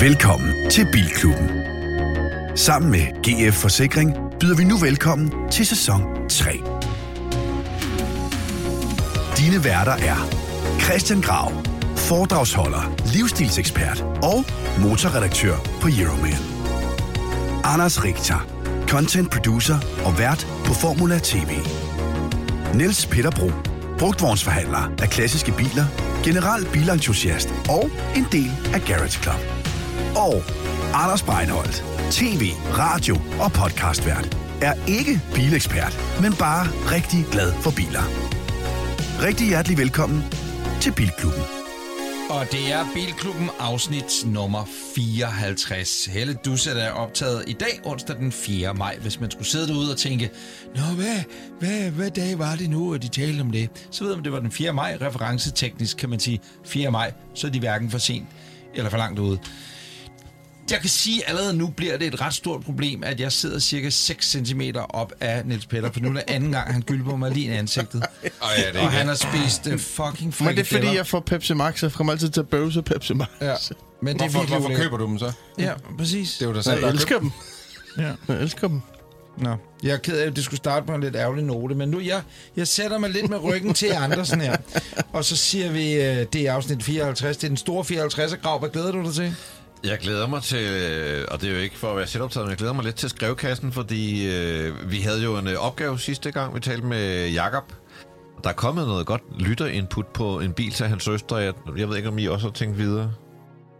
Velkommen til Bilklubben. Sammen med GF Forsikring byder vi nu velkommen til sæson 3. Dine værter er Christian Grav, foredragsholder, livsstilsekspert og motorredaktør på Euroman. Anders Richter, content producer og vært på Formula TV. Niels Peter Bro, brugtvognsforhandler af klassiske biler, general bilentusiast og en del af Garage Club. Og Anders Breinholt, tv, radio og podcastvært, er ikke bilekspert, men bare rigtig glad for biler. Rigtig hjertelig velkommen til Bilklubben. Og det er Bilklubben afsnit nummer 54. Helle Dusset er optaget i dag, onsdag den 4. maj. Hvis man skulle sidde derude og tænke, Nå, hvad, hvad, hvad dag var det nu, at de talte om det? Så ved man, det var den 4. maj. Referenceteknisk kan man sige 4. maj, så er de hverken for sent eller for langt ude. Jeg kan sige allerede nu bliver det et ret stort problem, at jeg sidder cirka 6 cm op af Niels Petter, for nu er det anden gang, han gylper mig lige i ansigtet. Ej, ja, det er Og ikke- han har spist øh, fucking Men det er frikadeller. fordi, jeg får Pepsi Max, så jeg kommer altid til at bøvse Pepsi Max. Ja. Men det er Hvorfor, virkelig hvorfor ulækkert. køber du dem så? Ja, præcis. Det er jo dig selv, Jeg der har elsker købt dem. Ja. Jeg elsker dem. Nå. Jeg er ked af, at det skulle starte på en lidt ærgerlig note, men nu jeg, jeg sætter mig lidt med ryggen til Andersen her. Og så siger vi, øh, det er afsnit 54. Det er den store 54. Grav, hvad glæder du dig til? Jeg glæder mig til, øh, og det er jo ikke for at være selvoptaget, men jeg glæder mig lidt til skrevkassen, fordi øh, vi havde jo en øh, opgave sidste gang, vi talte med Jakob. Der er kommet noget godt lytterinput på en bil til hans søster. Jeg, jeg ved ikke, om I også har tænkt videre.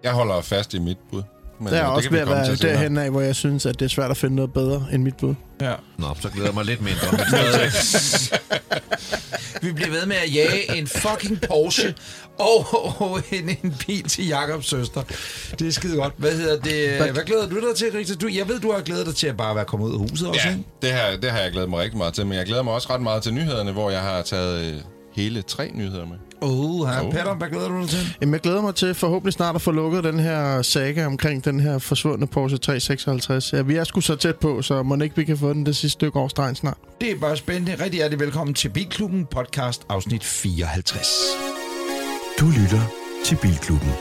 Jeg holder fast i mit bud. Men Der er øh, det også kan vi ved at komme være til senere. derhen af, hvor jeg synes, at det er svært at finde noget bedre end mit bud. Ja. Nå, så glæder jeg mig lidt mindre. Men stadig. Vi bliver ved med at jage en fucking Porsche og en, en bil til Jakobs søster. Det er skide godt. Hvad hedder det? Hvad glæder du dig til, Rita? Du, jeg ved, du har glædet dig til at bare være kommet ud af huset også, Ja, ikke? det har, det har jeg glædet mig rigtig meget til, men jeg glæder mig også ret meget til nyhederne, hvor jeg har taget øh, hele tre nyheder med. Oh, her. Jo. Petter, hvad glæder du dig til? Jamen, jeg glæder mig til forhåbentlig snart at få lukket den her saga omkring den her forsvundne Porsche 356. Ja, vi er sgu så tæt på, så må ikke vi kan få den det sidste stykke års stregen snart. Det er bare spændende. Rigtig hjertelig velkommen til Bilklubben podcast afsnit 54. Du lytter til Bilklubben.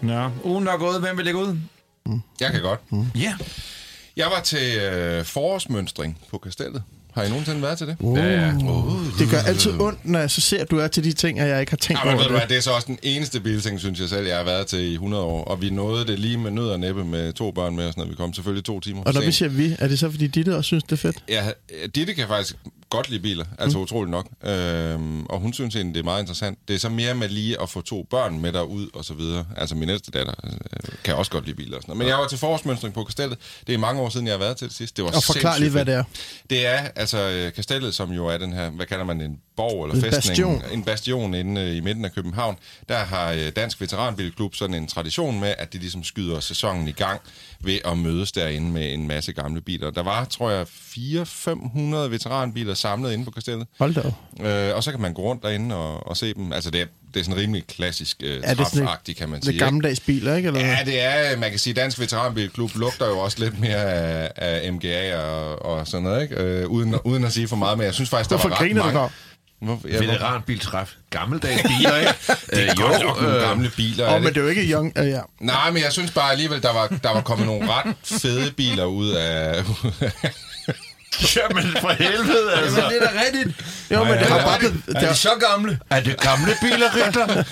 Nå, ugen er gået. Hvem vil lægge ud? Jeg kan godt. Mm. Ja. Jeg var til øh, forårsmønstring på kastellet. Har I nogensinde været til det? Wow. Ja. Det gør altid ondt, når jeg så ser, at du er til de ting, og jeg ikke har tænkt Ja, over Øh. men ved du hvad, det. det er så også den eneste bilting, synes jeg selv, jeg har været til i 100 år. Og vi nåede det lige med nød og næppe med to børn med os, når vi kom. Selvfølgelig to timer for Og når vi sent. siger vi, er det så, fordi Ditte også synes, det er fedt? Ja, Ditte kan faktisk godt lide biler, altså mm. utroligt nok. Øhm, og hun synes egentlig, det er meget interessant. Det er så mere med lige at få to børn med derud og så videre. Altså min ældste datter øh, kan også godt lide biler og sådan noget. Men jeg var til forårsmønstring på Kastellet. Det er mange år siden, jeg har været til det sidst. Det var Og forklar lige, sindssygt hvad det er. det er altså øh, kastellet, som jo er den her, hvad kalder man en borg eller En fæstning? bastion. En bastion inde øh, i midten af København. Der har øh, Dansk Veteranbilklub sådan en tradition med, at de ligesom skyder sæsonen i gang ved at mødes derinde med en masse gamle biler. Der var, tror jeg, 400-500 veteranbiler samlet inde på kastellet. Hold da op. Øh, og så kan man gå rundt derinde og, og se dem. Altså det er, det er sådan rimelig klassisk øh, Er det sådan træfagtigt, kan man sige. Det ikke? gammeldags biler, ikke? Eller? Ja, hvad? det er, øh, man kan sige, Dansk Veteranbilklub lugter jo også lidt mere af, af MGA og, og sådan noget, ikke? Øh, uden, uden at sige for meget, men jeg synes faktisk, der Hvorfor var ret griner du mange... dog? Hvorfor, ja, hvorfor? Veteranbiltræf. Gammeldags biler, ikke? Det er godt nok nogle øh, gamle biler. er Åh, det men ikke? det er jo ikke young... Øh, ja. Nej, men jeg synes bare alligevel, der var, der var kommet nogle ret fede biler ud af... Jamen, for helvede, altså. det er da rigtigt. Jo, men ja, det ja. har bare blevet... Det har, så gamle? Er det gamle biler, Ritter?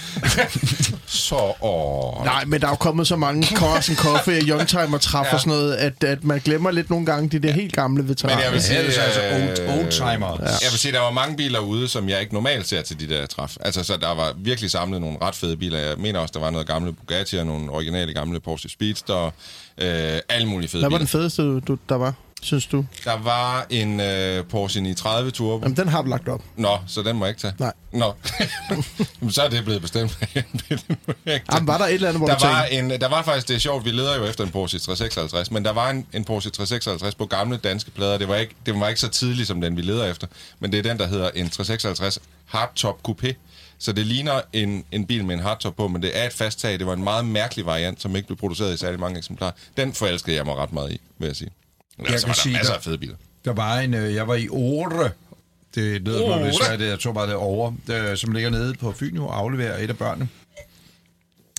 så, åh, Nej, men der er jo kommet så mange Cars and Coffee og Youngtimer træf ja. og sådan noget, at, at man glemmer lidt nogle gange de der helt gamle veteraner. Men jeg vil Det sige, er det så altså øh, old, oldtimer. Ja. Jeg vil sige, der var mange biler ude, som jeg ikke normalt ser til de der træf. Altså, så der var virkelig samlet nogle ret fede biler. Jeg mener også, der var noget gamle Bugatti og nogle originale gamle Porsche Speedster. Øh, alle mulige fede Hvad var biler. den fedeste, du, du, der var, synes du? Der var en øh, Porsche 930 Turbo. Jamen, den har vi lagt op. Nå, så den må jeg ikke tage. Nej. Nå. Jamen, så er det blevet bestemt. Jamen, var der et eller andet, hvor Der du tænkte, var, en, der var faktisk, det er sjovt, vi leder jo efter en Porsche 356, men der var en, en Porsche 356 på gamle danske plader. Det var, ikke, det var ikke så tidlig som den, vi leder efter, men det er den, der hedder en 356 Hardtop Coupé. Så det ligner en, en bil med en hardtop på, men det er et fast tag. Det var en meget mærkelig variant, som ikke blev produceret i særlig mange eksemplarer. Den forelskede jeg mig ret meget i, vil jeg sige. Men Jeg altså, kan var sige der masser dig- af fede biler. Der var en, øh, jeg var i Ore. Det lyder mig Ore. lidt svært, det- jeg tror bare, det er over, øh, som ligger nede på Fyn nu og afleverer et af børnene.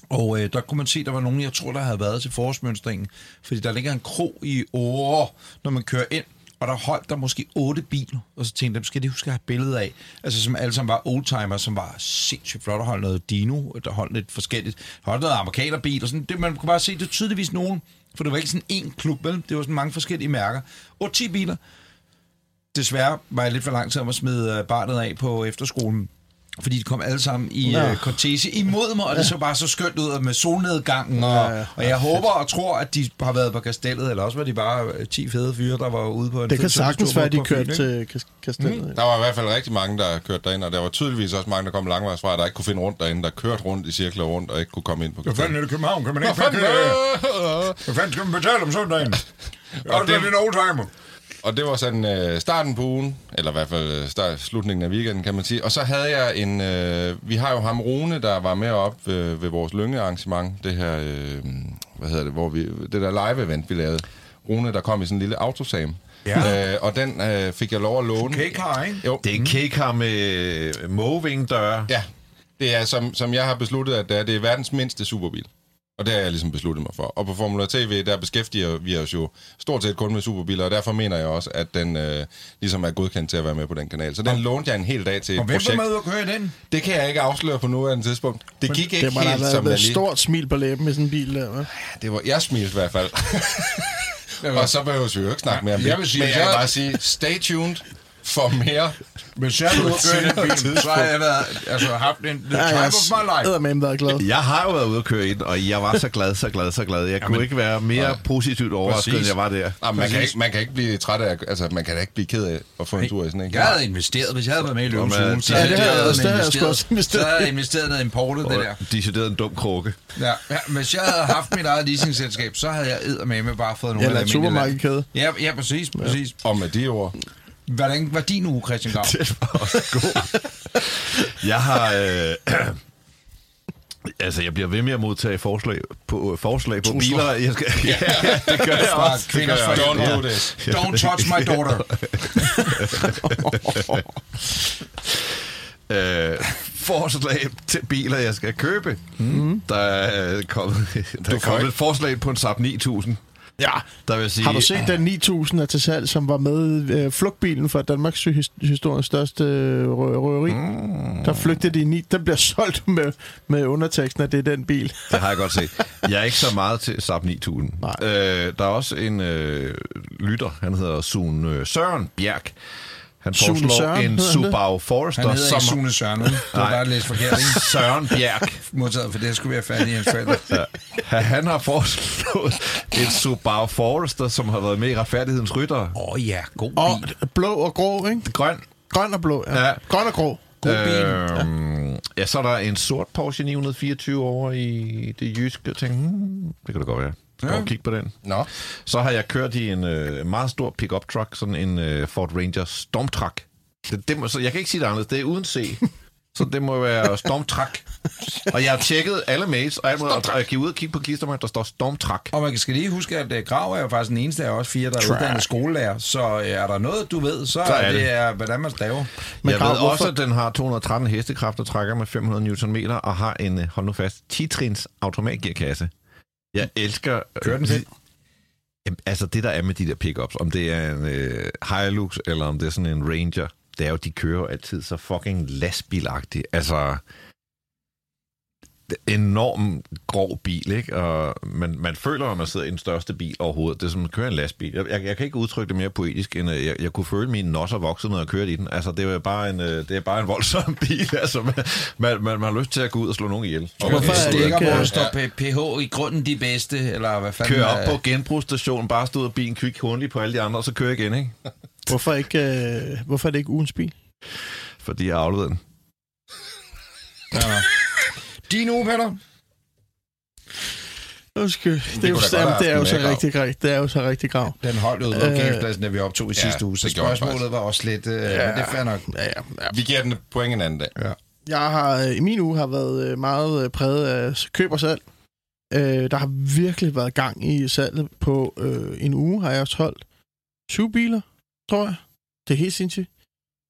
Og øh, der kunne man se, der var nogen, jeg tror, der havde været til forårsmønstringen. Fordi der ligger en krog i Åre, når man kører ind. Og der holdt der måske otte biler. Og så tænkte jeg, dem skal de huske at have billeder af. Altså som alle sammen var oldtimer, som var sindssygt flot. Der holdt noget dino, der holdt lidt forskelligt. Der holdt noget amerikanerbil og sådan. Det, man kunne bare se, det var tydeligvis nogen. For det var ikke sådan én klub, vel? Det var sådan mange forskellige mærker. 8-10 biler. Desværre var jeg lidt for lang tid om at smide øh, barnet af på efterskolen. Fordi de kom alle sammen i Nå. øh, Cortese imod mig, og det så bare så skønt ud og med solnedgangen. Og, Ja, ja. og jeg håber og tror, at de har været på kastellet, eller også var de bare øh, 10 fede fyre, der var ude på en Det kan fed sagtens tur være, at de på Fyn, kørte ikke? til kas- kastellet. Mm. Der var i hvert fald rigtig mange, der kørte derind, og der var tydeligvis også mange, der kom langvejs fra, der ikke kunne finde rundt derinde, der kørte rundt i cirkler rundt og ikke kunne komme ind på Hvad fanden er det i København? Kan man ikke Hvad fanden er det? Hvad fanden skal man betale om søndagen? Og det er en oldtimer. Og det var sådan øh, starten på ugen, eller i hvert fald øh, start, slutningen af weekenden, kan man sige. Og så havde jeg en... Øh, vi har jo ham Rune, der var med op øh, ved vores lyngearrangement. Det her... Øh, hvad hedder det? Hvor vi, det der live-event, vi lavede. Rune, der kom i sådan en lille autosam. Ja. Øh, og den øh, fik jeg lov at låne. Kækar, ikke? Jo, Det er en kækar med øh, movingdøre. Mm. ja. Det er, som, som jeg har besluttet, at det er, det er verdens mindste superbil. Og det har jeg ligesom besluttet mig for. Og på Formula TV, der beskæftiger vi os jo stort set kun med superbiler, og derfor mener jeg også, at den øh, ligesom er godkendt til at være med på den kanal. Så den lånte jeg en hel dag til et Og hvem var projekt. med ude at køre i den? Det kan jeg ikke afsløre på nuværende tidspunkt. Det gik ikke Det må da have helt, som været med jeg et lige... stort smil på læben med sådan en bil der, hva'? Det var, jeg smilte i hvert fald. og så behøver vi jo ikke snakke mere om Jeg det. vil sige, Men jeg vil jeg- bare sige, stay tuned for mere. Hvis jeg havde ude at køre i den bil, så havde jeg været, altså, haft en the Ja, jeg time of my har life. eddermame været glad. Jeg har jo været ude at køre ind, og jeg var så glad, så glad, så glad. Jeg Jamen, kunne ikke være mere nej. positivt overrasket, end Præcis. jeg var der. Nå, man, kan Præcis. ikke, man kan ikke blive træt af... Altså, man kan da ikke blive ked af at få en tur i sådan en. Jeg havde investeret, hvis jeg havde været med i Løvens Jamen, Hule, så ja, havde det jeg havde jeg også- det havde jeg sgu investeret. også investeret Så havde jeg investeret noget importet, det der. Og decideret en dum krukke. Ja, ja, hvis jeg havde haft mit eget leasingselskab, så havde jeg eddermame bare fået nogle Eller af et det supermarkedkæde. Ja, ja, præcis, præcis. Og med de ord... Hvordan var din uge, Christian Grav? Jeg har... Øh, altså, jeg bliver ved med at modtage forslag på, øh, forslag på Trusler. biler. Jeg skal, ja, det gør jeg Fra også. kvinders Don't forening. do this. Don't touch my daughter. Øh, forslag til biler, jeg skal købe. Mm. Der er øh, kommet, der er får kommet ikke- et forslag på en Saab 9000. Ja, der vil sige... Har du set den 9000 er til salg, som var med øh, flugtbilen fra Danmarks his- historiens største øh, rø- røveri? Mm. Der flygtede de i ni. Den bliver solgt med, med underteksten, at det er den bil. Det har jeg godt set. Jeg er ikke så meget til Saab 9000. Nej. Øh, der er også en øh, lytter, han hedder Sune øh, Søren Bjerg. Han Sune foreslår Søren, en hedder han det? Subaru Forester. Han hedder ikke som- Sune Søren, vel? Det var Nej. bare læst forkert, ikke? Søren Bjerg. Modtaget, for det skulle være færdig i hans forældre. Ja. Han har foreslået en Subaru Forester, som har været med i retfærdighedens rytter. Åh oh, ja, god Og bil. blå og grå, ikke? Grøn. Grøn og blå, ja. Ja. Øh, ja. Grøn og grå. God bil. Øhm, ja, så er der en sort Porsche 924 over i det jyske. Jeg tænkte, hmm, det kan det godt være. Skal ja. kigge på den. Nå. Så har jeg kørt i en øh, meget stor pickup truck, sådan en øh, Ford Ranger Stormtruck. Det, det må, så jeg kan ikke sige det anderledes, det er uden C. Så det må være Stormtruck. Og jeg har tjekket alle mails, og jeg, må, og jeg gik ud og kigge på klistermærket, der står Stormtruck. Og man skal lige huske, at øh, Grav er jo faktisk den eneste af os fire, der er uddannet skolelærer. Så øh, er der noget, du ved, så, så er er det, det. er, hvordan man staver. Men jeg Grav, ved også, hvorfor- at den har 213 hestekræfter, trækker med 500 Nm og har en, øh, hold nu fast, 10-trins automatgearkasse. Jeg elsker... øh, Kører den fedt? Jamen, altså det, der er med de der pickups, om det er en øh, Hilux eller om det er sådan en Ranger, det er jo, de kører jo altid så fucking lastbilagtigt. Altså, det er en enorm grov bil, ikke? Og man, man føler, at man sidder i den største bil overhovedet. Det er som at køre en lastbil. Jeg, jeg, jeg kan ikke udtrykke det mere poetisk, end at jeg, jeg kunne føle, at mine nosser voksede, når jeg kørte i den. Altså, det er bare en, øh, det er bare en voldsom bil. Altså, man, man, man, man har lyst til at gå ud og slå nogen ihjel. Og hvorfor er det det ikke, ikke, hvor der øh, står P- pH i grunden de bedste, eller hvad fanden? Køre op øh, på genbrugsstationen, bare stå ud af bilen, kvik hundelig på alle de andre, og så køre igen, ikke? Hvorfor, ikke, øh, hvorfor er det ikke ugens bil? Fordi jeg afleverede den. Ja, nå. Din uge, Peter. Undskyld. Det, er jo, kunne da godt jamen, have det er jo haft så den med, rigtig grav. Det er jo så rigtig grav. Den holdt ud af gennemspladsen, da vi optog i Ja, sidste uge, så det gjorde jeg Øh, spørgsmålet faktisk. var også lidt... Øh, ja. Men det er fair nok. Ja, ja, ja. Vi giver den et point en anden dag. Jeg har øh, i min uge har været øh, meget øh, præget af s- køb og salg. Øh, der har virkelig været gang i salget på øh, en uge, har jeg også holdt syv biler, tror jeg. Det er helt sindssygt.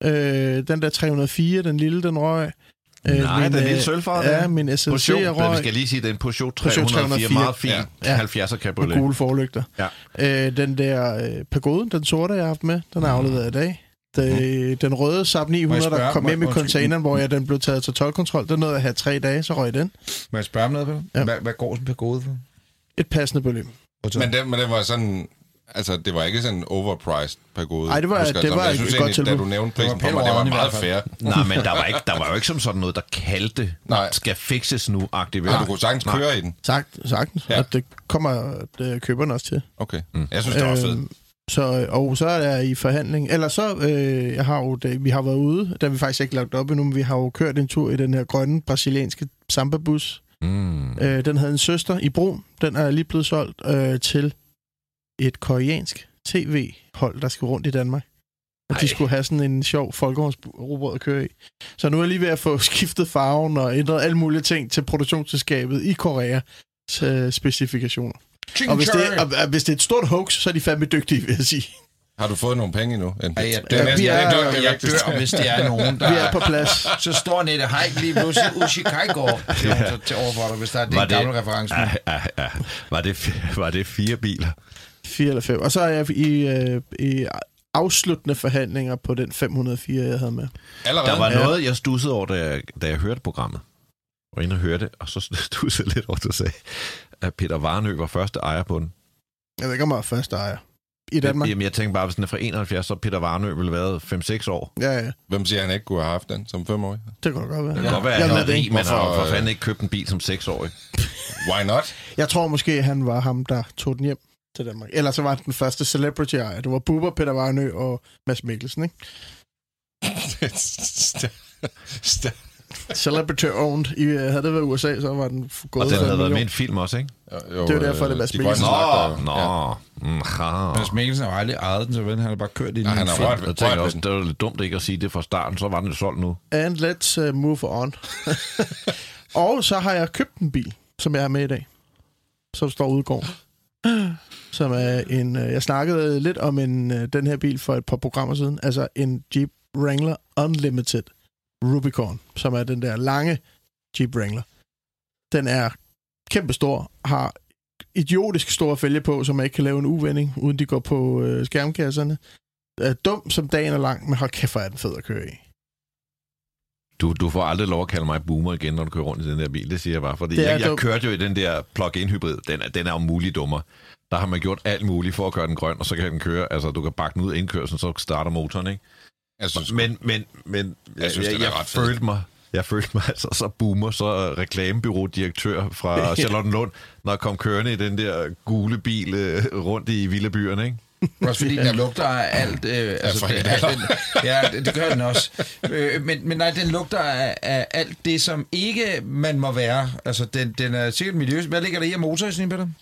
Øh, den der 304, den lille, den røg. Øh, Nej, den lille øh, sølvfarve der. Ja, min SLC Peugeot, er men vi røg skal lige sige, det er en Peugeot 304, Peugeot 304 meget fin Ja. ja. 70'er og cabriolet. gule forlygter. Ja. Øh, den der øh, pagode, den sorte, jeg har haft med, den er afleveret i dag. Det, Den røde Saab 900, Ah. Mhm. Må jeg der spørge- kom må- hjem i undskyld. containeren, hvor jeg den blev taget til tolvkontrol, den nåede jeg at have tre dage, så røg den. Må jeg spørge om noget, Ja. ja. hvad, hvad går sådan på gode for? Et passende beløb. Men det, men det var sådan... Altså, det var ikke sådan overpriced per gode. Ej, det var- det var jeg et synes godt egentlig, da tilbud. du nævnte Det var prisen på mig, det var pælerøven i meget hvert fair. fald. Nej, men der var, ikke, der var jo ikke som sådan noget, der kaldte, Nej. skal fikses nu, aktiveret. Ja, du kunne sagtens køre i den. Sagt, sagtens. Ja. Ja. Og det kommer øh, køberen også til. Okay. Jeg synes, det var fedt. Øhm, Så, og så er jeg i forhandling. Eller så, øh, jeg har jo, det, vi har været ude, der vi faktisk ikke lagt op endnu, men vi har jo kørt en tur i den her grønne brasilianske sambabus. Mm. Øh, den havde en søster i Brun. Den er lige blevet solgt øh, til et koreansk tv-hold, der skulle rundt i Danmark. Og Ej. de skulle have sådan en sjov folkehåndsrobrød at køre i. Så nu er jeg lige ved at få skiftet farven og ændret alle mulige ting til produktionsselskabet i Korea øh, specifikationer. Og hvis, det, og, og hvis det er et stort hoax, så er de fandme dygtige, vil jeg sige. Har du fået nogle penge endnu? Ej, jeg det dør. er næsten Vi er- det, er, det, Jeg dør, hvis det er nogen, der... Vi er på plads. Så står Nette Haik lige pludselig Uchi Kajgaard til, til, til overfor dig, hvis der er det, Var en det- gammel reference. Ja, ja, ja. Ah, Var, det, f- var det fire biler? Fire eller fem. Og så er jeg i, øh, i afsluttende forhandlinger på den 504, jeg havde med. Allerede? Der var Ja. noget, jeg stussede over, da jeg, da jeg hørte programmet. Og inde og hørte det, og så stussede jeg lidt over, at du sagde, at Peter Varnø var første ejer på den. Jeg ved ikke, om jeg er første ejer. I Danmark. Jamen, jeg tænkte bare, hvis den er fra 71, så har Peter Varnø ville have været 5-6 år. Ja, ja. Hvem siger, at han ikke kunne have haft den som femårig? Det kunne da godt Det være. kan godt være, Jeg at han ved er det rig, ikke. men har Hvorfor, for øh, fanden ikke købt en bil som 6-årig. Why not? Jeg tror måske, han var ham, der tog den hjem til Danmark. Eller så var han den første celebrity ejer. Det var Bubber, Peter Varnø og Mads Mikkelsen, ikke? Celebrity owned. I, øh, havde det været USA, så var den f- gået Og den for en havde været med i million. en film også, ikke? jo, Det er jo derfor, det er Mads de Mikkelsen. grønne slagter, Nå, ja. nå. Mm, ha. Mads Mikkelsen har jo aldrig ejet den, så vel, han har bare kørt i Ja, den. han har rørt ved Jeg rørt tænker ved også, den. det var lidt dumt ikke at sige det fra starten, så var den jo solgt nu. And let's uh, move on. og så har jeg købt en bil, som jeg har med i dag. Som står ude i gården. Som er en... Uh, jeg snakkede lidt om en, uh, den her bil for et par programmer siden. Altså en Jeep Wrangler Unlimited Rubicon. Som er den der lange Jeep Wrangler. Den er kæmpestor. Har idiotisk store fælge på, som ikke kan lave en uvending, uden de går på øh, skærmkasserne. Er dum som dagen er lang, men har kæft, hvor er den fed at køre i. Du, du får aldrig lov at kalde mig boomer igen, når du kører rundt i den der bil. Det siger jeg bare, fordi Det er jeg, jeg dumt. kørte jo i den der plug-in hybrid. Den er, den er om muligt dummer. Der har man gjort alt muligt for at gøre den grøn, og så kan den køre. Altså, du kan bakke den ud af indkørslen, så starter motoren, ikke? Jeg synes, men, Men, men, men Jeg synes, jeg, den er jeg ret fed. følte mig, jeg følte mig altså så boomer, så reklamebyrådirektør fra Charlottenlund, når jeg kom kørende i den der gule bil øh, rundt i villabyerne, ikke? Også fordi den lugter af alt... Øh, altså, det, frikadeller. den, ja, det, det gør den også. Øh, men, men nej, den lugter af, af alt det, som ikke man må være. Altså, den, den er sikkert miljøs. Hvad ligger der i af motor i sådan en,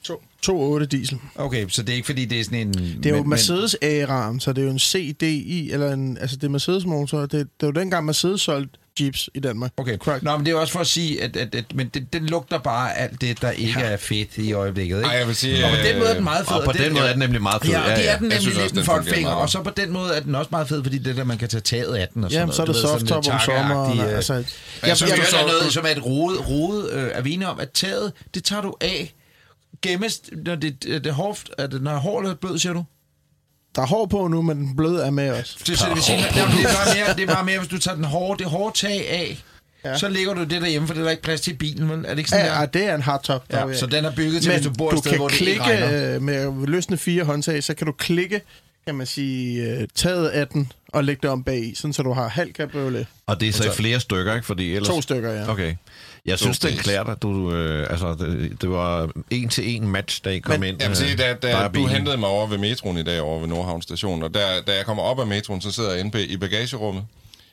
Peter? 2.8 diesel. Okay, så det er ikke fordi, det er sådan en... Det er jo Mercedes A-ram, så det er jo en CDI, eller en, altså det er Mercedes motor. Det, det er jo dengang Mercedes solgte Jeeps i Danmark. Okay, Correct. Nå, men det er også for at sige, at, at, at men den, den lugter bare af alt det, der ikke ja. er fedt i øjeblikket. Ikke? Ej, jeg vil sige, og på den øh, måde er den meget fed. Og på den måde er den nemlig meget fed. Ja, ja, det er den nemlig Jeg synes lidt også, en den fungerer fuckfinger, meget. og så på den måde er den også meget fed, fordi det der, man kan tage taget af den og sådan Jamen, noget. så er det Du ved, sådan lidt soft top om sommeren. takkeagtige, øh, altså, jeg, jeg synes, jeg det gør så- der noget, som er et rode, rode øh, er vi enige om, at taget, det tager du af, gemmes, når det, det er hårdt, er det, når hårdt er blød, siger du? der er hår på nu, men den bløde er med os. Det, så det, vil sige, nej, nej, det, er bare mere, det er bare mere, hvis du tager den hårde, det hårde tag af, ja. Ja. så ligger du det derhjemme, for det er der ikke plads til i bilen, vel? Er det ikke sådan Ja, der? ja, det er en hardtop. der Ja, vil jeg- så den er bygget til, men hvis du bor et du sted, kan hvor det ikke klikke regner. øh, med løsne fire håndtag, så kan du klikke, kan man sige, øh, taget af den og lægge det om bag i, sådan så du har halv cabriolet. Og det er så i flere stykker, ikke? Fordi ellers... Altså- To stykker, ja. Okay. Jeg synes, den days. klæder dig. Du, øh, altså, det, det var en til en match, da I kom Men- ind. jeg vil sige, øh, da, der er da du bilen. hentede mig over ved metroen i dag, over ved Nordhavn station, og da, da jeg kommer op af metroen, så sidder jeg inde på- i bagagerummet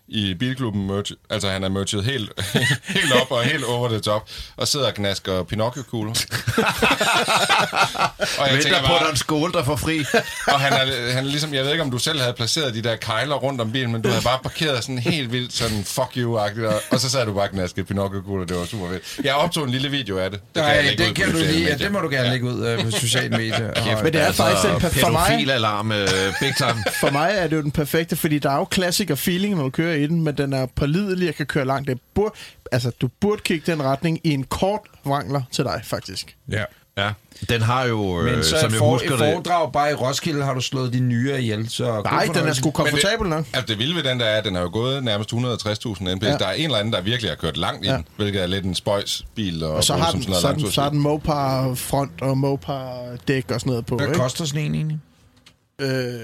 i bilklubben merch, altså han er merchet helt, helt op og helt over det top, og sidder og gnasker Pinocchio-kugler. og jeg Venter tænker på, at der er bare, en skole, der får fri. og han er, han er ligesom, jeg ved ikke, om du selv havde placeret de der kejler rundt om bilen, men du havde bare parkeret sådan helt vildt, sådan fuck you-agtigt, og, og så sad du bare og gnaskede Pinocchio-kugler, det var super fedt. Jeg optog en lille video af det. det jeg Nej, lægge ud det kan på du sociale lige, ja, medier. det må du gerne lægge ud øh, på sociale medier. Og- Altså, Men det er faktisk den, per- for mig, Altså, Pædofilalarm, øh, big time. For mig er det jo den perfekte, fordi der er jo klassiker feeling, når du kører kører i den, men den er pålidelig, jeg kan køre langt. Det bur, altså, du burde kigge den retning i en kort vrangler til dig, faktisk. Ja. Ja. Den har jo, øh, Men så som et, jeg for, husker et det... foredrag bare i Roskilde har du slået de nyere ihjel. Så god Nej, den er fornøjelse. sgu komfortabel nok. Altså, det vilde ved den der er, at den har jo gået nærmest 160.000 NPS. Ja. Der er en eller anden, der virkelig har kørt langt i den, hvilket er lidt en spøjsbil. Og, Og så bruges har som den, sådan noget så har den, langtursbil. så har den Mopar front og Mopar dæk og sådan noget på, Hvad ikke? koster sådan en egentlig? Øh,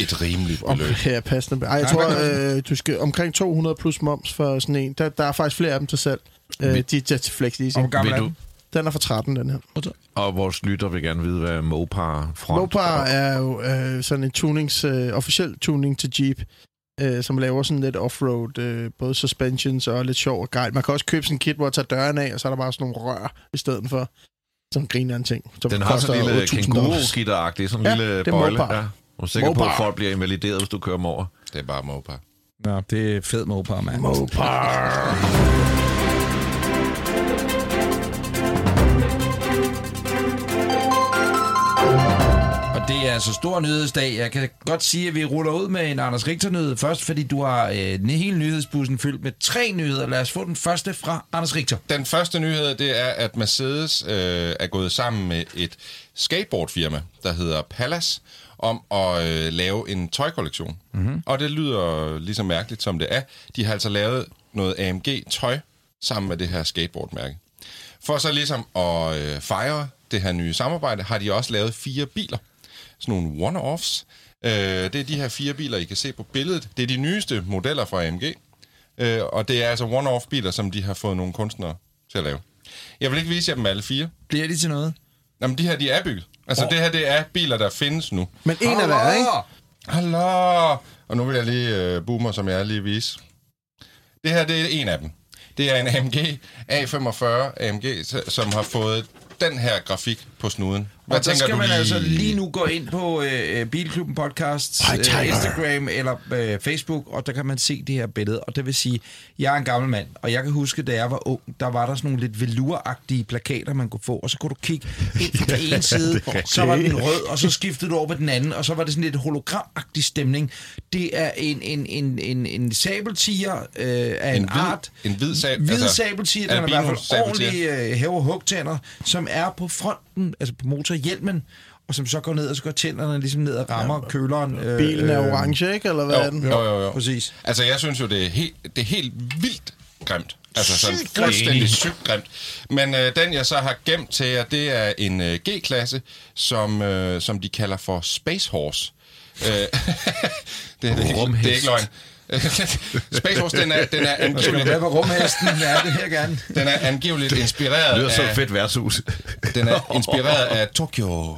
Et rimeligt om, beløb. ja, passende. Ej, jeg Nej, hvad koster tror, øh, du skal omkring 200 plus moms for sådan en. Der, der er faktisk flere af dem til salg. Øh, de er til flex Og hvor leasing. gammel Vil er du- den? Den er for 13, den her. Og vores lytter vil gerne vide, hvad Mopar front... Mopar er jo øh, sådan en tunings, øh, officiel tuning til Jeep, øh, som laver sådan lidt offroad, øh, både suspensions og lidt sjov og gejl. Man kan også købe sådan en kit, hvor jeg tager døren af, og så er der bare sådan nogle rør i stedet for, som griner en ting. Som Den har sådan en lille 8.000 dollars. kænguru-gitter-agtig, sådan en Ja, lille det er bøjle. Mopar. Ja. Jeg er sikker på, at Mopar. folk bliver invalideret, hvis du kører dem over. Det er bare Mopar. Nå, det er fed Mopar, mand. Mopar. Og det er altså stor nyhedsdag. Jeg kan godt sige, at vi ruller ud med en Anders richter nyhed først, fordi du har øh, en hel nyhedsbussen fyldt med tre nyheder. Lad os få den første fra Anders Richter. Den første nyhed, det er, at Mercedes øh, er gået sammen med et skateboardfirma, der hedder Palace, om at øh, lave en tøjkollektion. Mhm. Mm-hmm. Og det lyder lige så mærkeligt, som det er. De har altså lavet noget AMG-tøj sammen med det her skateboardmærke. For så ligesom at øh, fejre det her nye samarbejde, har de også lavet fire biler. Sådan nogle one-offs. Øh, det er de her fire biler, I kan se på billedet. Det er de nyeste modeller fra AMG. Øh, og det er altså one-off-biler, som de har fået nogle kunstnere til at lave. Jeg vil ikke vise jer dem alle fire. Bliver det til noget? Jamen, de her, de er bygget. Altså, oh. det her, det er biler, der findes nu. Men en af hver, ikke? Hallo! Og nu vil jeg lige øh, boomer, som jeg er, lige vise. Det her, det er en af dem. Det er en AMG A45 AMG, s- som har fået den her grafik på snuden. Hvad og der tænker skal du man lige? altså lige nu gå ind på øh, øh, Bilklubben Podcast, Hej, Tiger. øh, Instagram eller øh, Facebook, og der kan man se det her billede. Og det vil sige, jeg er en gammel mand, og jeg kan huske, da jeg var ung, der var der sådan nogle lidt veluragtige plakater, man kunne få, og så kunne du kigge ind på den ene side, så var den rød, og så skiftede du over på den anden, og så var det sådan lidt hologramagtig stemning. Det er en, en, en, en, en sabeltiger øh, af en, En en hvid- art. en hvid sab- hvid altså, sabeltiger, den er i hvert fald albino-sabeltiger. ordentlig øh, hæver hugtænder, som er på fronten, altså på motorhjelmen, og som så går ned, og så går tænderne ligesom ned og rammer ja, køleren. Øh, Bilen er øh, orange, ikke? Eller hvad er den? Jo, jo, jo. jo. Præcis. Altså, jeg synes jo, det er helt, det er helt vildt grimt. Altså, sådan Sygt grimt. fuldstændig sygt grimt. Men øh, den, jeg så har gemt til jer, det er en øh, G-klasse, som, øh, som de kalder for Space Horse. Øh, det, det, er ikke, det er ikke løgn. Space Horse, den er, den er Skal du med angiveligt, på rumhesten? Ja, det her gerne. den er angiveligt Det inspireret lyder så af- fedt værtshus. Den er inspireret af Tokyo.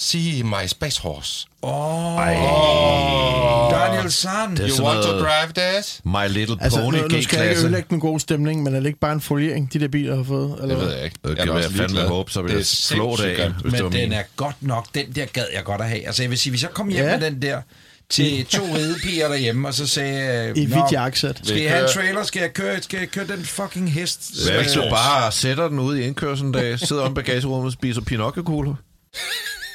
See my Space Horse. Daniel San. Det er You sådan want to noget drive that? My Little Altså, Pony nu, nu skal jeg ikke G-klasse. ødelægge den gode stemning, men er det ikke bare en foliering, de der biler har fået? Eller Det ved hvad? jeg ikke. Det er da kan også jeg fandme ligeglad. håbe, så vil Det jeg er slå det sindssygt af. grimt. hvis det var Men den min. er godt nok, den der gad jeg godt at have. Altså jeg vil sige, hvis jeg kom hjem Ja. med den der til to ridepiger derhjemme, og så sagde... øh, I "Nå, hvidt jakkesæt. Skal jeg have en trailer? Skal jeg køre, skal jeg køre den fucking hest? øh, Hvad hvis du Space bare sætter den ud i indkørselen, der sidder om i bagagerummet og spiser pinocchio-kugler?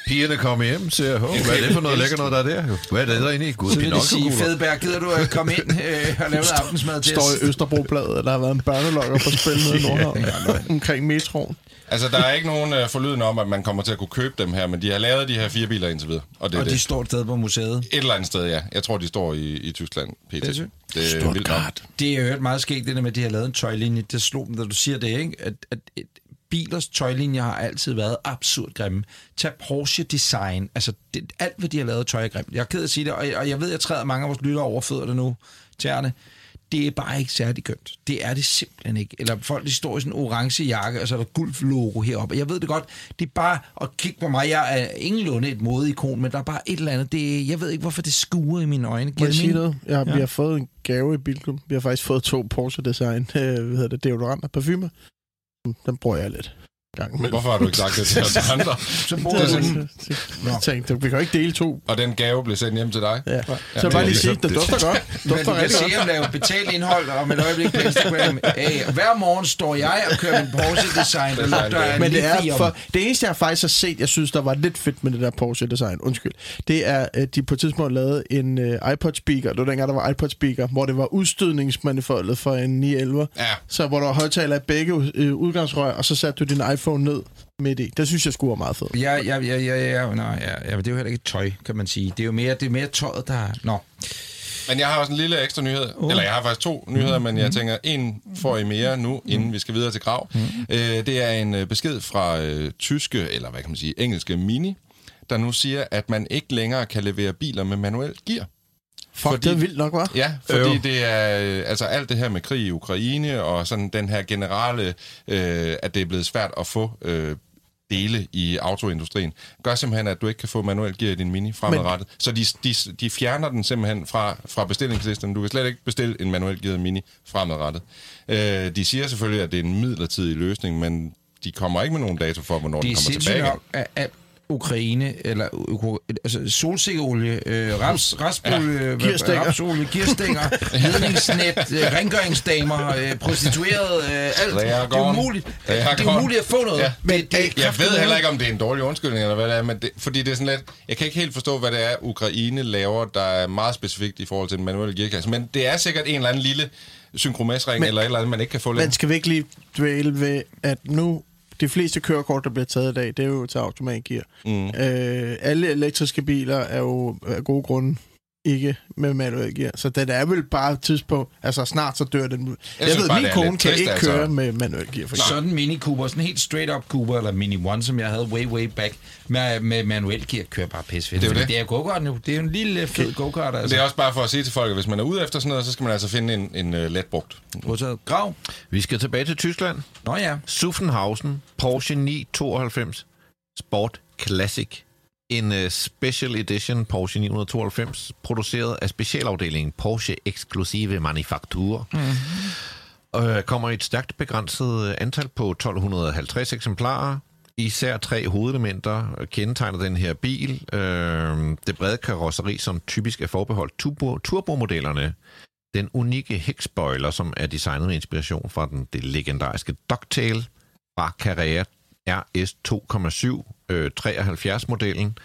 Pigerne kommer hjem og siger, "Hov, hvad er det for noget lækker noget, der er der? Hvad er det der inde i? Gud, Så vil det sige, pinocchio-kugler. Fedberg, gider du at komme ind øh, og lave noget aftensmad til Står os? i Østerbrobladet, at der har været en børnelokker på spil nede i Nordhavn, omkring metroen. Altså, der er ikke nogen øh, forlyden om, at man kommer til at kunne købe dem her, men de har lavet de her fire biler indtil videre. Og det er Og det. de står et sted på museet. Et eller andet sted, ja. Jeg tror, de står i, i Tyskland, PT. Det er, sygt. det er vildt nok. Det er jo et meget skægt, det der med, at de har lavet en tøjlinje. Det slog dem, da du siger det, ikke? At, at, at bilers tøjlinjer har altid været absurd grimme. Tag Porsche Design. Altså, det, alt, hvad de har lavet tøj er grimt. Jeg er ked af at sige det, og jeg, og jeg ved, at jeg træder mange af vores lyttere over fødderne nu, tæerne. Det er bare ikke særlig kønt. Det er det simpelthen ikke. Eller folk, de står i sådan en orange jakke, og så er der gulf-logo heroppe. Og Jeg ved det godt, det er bare at kigge på mig. Jeg er ingenlunde et modeikon, men der er bare et eller andet. Det, jeg ved ikke, hvorfor det skuer i mine øjne. Må Giver jeg det sige mening? noget? Ja, Vi har fået en gave i Bilklub. Vi har faktisk fået to Porsche Design, øh, hvad hedder det, deodorant og parfumer. Den bruger jeg lidt. gang imellem. Hvorfor har du ikke sagt det til os andre? Så Det bruger er du sådan... sådan- det- Jeg tænkte, vi kan jo ikke dele to. Og den gave blev sendt hjem til dig? Ja. Så men jeg bare det lige er sige, ligesom- det dufter godt. Men Dufter du kan rigtig se godt. ham lave betalt indhold om et øjeblik på Instagram. Hey, hver morgen står jeg og kører min Porsche Design, der lugter af Men det er lithium. for, det eneste, jeg faktisk har set, jeg synes, der var lidt fedt med det der Porsche-design, undskyld, det er, at de på et tidspunkt lavede en uh, iPod-speaker, det var dengang, der var iPod-speaker, hvor det var udstødningsmanifoldet for en 911, Ja. så hvor der var højtaler i begge øh, udgangsrør, og så satte du din iPhone ned midt i. Det synes jeg skulle var meget fedt. Ja, ja, ja, ja, ja, nej, ja, ja, men det er jo heller ikke tøj, kan man sige. Det er jo mere, det er mere tøjet, der... Nå, Men jeg har også en lille ekstra nyhed. Uh. Eller jeg har faktisk to nyheder, men jeg tænker, en får I mere nu, inden vi skal videre til grav. Mm. Øh, det er en øh, besked fra øh, tyske, eller hvad kan man sige, engelske Mini, der nu siger, at man ikke længere kan levere biler med manuel gear. Fuck, Fordi- Fordi... det er vildt nok, var. Ja, fordi øh. det er øh, altså alt det her med krig i Ukraine og sådan den her generelle, øh, at det er blevet svært at få øh, dele i autoindustrien, gør simpelthen, at du ikke kan få manuel gear i din Mini fremadrettet. Men... Så de, de, de fjerner den simpelthen fra, fra bestillingslisten. Du kan slet ikke bestille en manuel gearet Mini fremadrettet. Øh, de siger selvfølgelig, at det er en midlertidig løsning, men de kommer ikke med nogen dato for, hvornår det den er kommer sindssygt tilbage. igen. nok, at, at Ukraine, eller Ukra- altså solsikkeolie, øh, raps, rasolie, ja, gearstænger. rapsolie, gearstænger, ledningsnet, øh, rengøringsdamer, øh, prostituerede, øh, alt. Det er Lagergården. umuligt, det er Lagergården. umuligt at få noget. Ja. Men det, det er Jeg ved kraftedeme- heller ikke, om det er en dårlig undskyldning, eller hvad det er, men det, fordi det er sådan lidt... Jeg kan ikke helt forstå, hvad det er, Ukraine laver, der er meget specifikt i forhold til den manuelle gearkasse. Men det er sikkert en eller anden lille synkromasring, eller et eller andet, man ikke kan få Men lidt. skal vi ikke lige dvæle ved, at nu de fleste kørekort, der bliver taget i dag, det er jo til automatgear. Mm. Øh, alle elektriske biler er jo af gode grunde ikke med manuel gear. Så den er vel bare et tidspunkt, altså snart så dør den. Jeg, synes ved, bare, min det er kone lidt kan trist, ikke altså. køre med manuel gear. For eksempel. sådan en Mini Cooper, sådan en helt straight up Cooper, eller Mini One, som jeg havde way, way back, med, med manuel gear, kører bare pisse fedt. Det er jo Fordi det. Det er go-kart nu. Det er jo en lille fed go-kart, altså. Det er også bare for at sige til folk, at hvis man er ude efter sådan noget, så skal man altså finde en, en uh, letbrugt. også... Grav. Vi skal tilbage til Tyskland. Nå ja. Suffenhausen Porsche 992 Sport Classic. En uh, special edition Porsche 992, produceret af specialafdelingen Porsche Exclusive Manufaktur. Mm-hmm. Uh, kommer i et stærkt begrænset øh, antal på 1250 eksemplarer. Især tre hovedelementer øh, kendetegner den her bil. Uh, det brede karosseri, som typisk er forbeholdt turbo- turbomodellerne, den unikke hækspoiler, som er designet med inspiration fra den det legendariske Ducktail fra Carrera RS 2,7 øh, 73-modellen.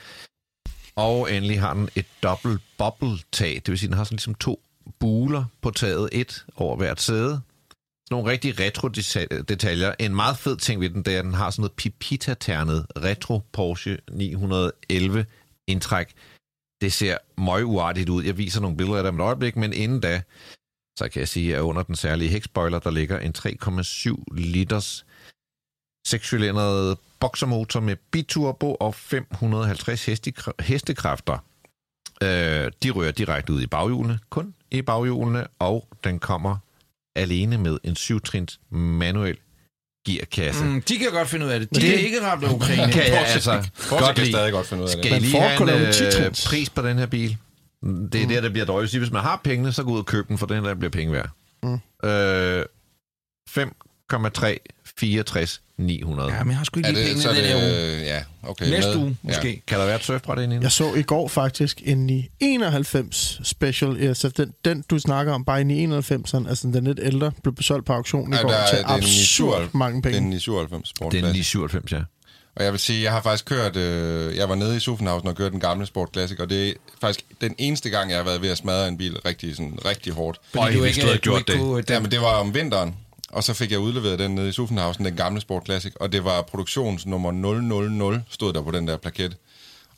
Og endelig har den et dobbelt bobbeltag, det vil sige, den har sådan ligesom to buler på taget, et over hvert sæde. Sådan nogle rigtig retro deta- detaljer. En meget fed ting ved den, det er, at den har sådan noget pipita-ternet retro Porsche 911 indtræk. Det ser møguartigt ud. Jeg viser nogle billeder af det om et øjeblik, men inden da, så kan jeg sige, at under den særlige hækspoiler, der ligger en 3,7 liters sekscylindret boksermotor med biturbo og 550 hestekr- hestekræfter. Øh, de rører direkte ud i baghjulene, kun i baghjulene, og den kommer alene med en 7-trins manuel Altså- gearkasse. Mm. Mm, de kan godt finde ud af det. De Det- det... er ikke ramt af Ukraine. Kan jeg Porsche- altså Porsche godt kan lide. stadig godt finde ud af det. Skal I Men lige have Ford en kunne lave en øh, 10-trins. pris på den her bil? Det er mm. der, der bliver døjt. Hvis man har pengene, så gå ud og køb den, for den der bliver penge værd. Mm. Øh, 5,364 900. Ja, men jeg har sgu ikke Er lige det, pengene så er den her uge. det, ja, okay. Næste med- uge, måske. Kan der være et surfbræt inde i den? Jeg så i går faktisk en 91 special, altså den, den du snakker om, bare en 91'eren, altså den er lidt ældre, blev solgt på auktion i Ja, går der er- til det er en absurd 97 mange Det er penge. en i 97 Sport Den er lige Classic. 97, ja. Og jeg vil sige, jeg har faktisk kørt... Øh, jeg var nede i Sufenhausen og kørte den gamle Sport Classic, og det er faktisk den eneste gang, jeg har været ved at smadre en bil rigtig, sådan, rigtig hårdt. Øj, hvis du havde gjort det. kunne, Ja, den, men det var om vinteren, og så fik jeg udleveret den nede i Sufenhausen, den gamle Sport Classic, og det var produktionsnummer 000, stod der på den der plaket.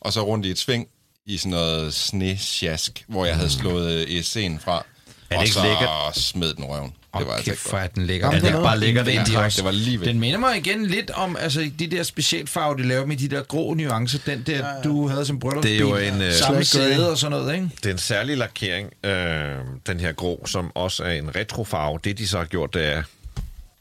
Og så rundt i et sving i sådan noget snesjask, hvor jeg havde slået øh, ESC'en fra, Mm. det og ikke så lækkert? smed den røven. Det var Åh, altså kæft, ikke hvor godt. er den lækker. Ja, den er bare lækker, den Indvendigt tak. også. Det var lige ved. Den minder mig igen lidt om altså, de der specialfarver, de laver med de der grå nuancer. Den der, ja, ja. du havde som bryllupsbil. Det er jo en, øh, Samme Slash grey. sæde og sådan noget, ikke? Det er en særlig lakering, øh, den her grå, som også er en retrofarve. Det, de så har gjort, det er...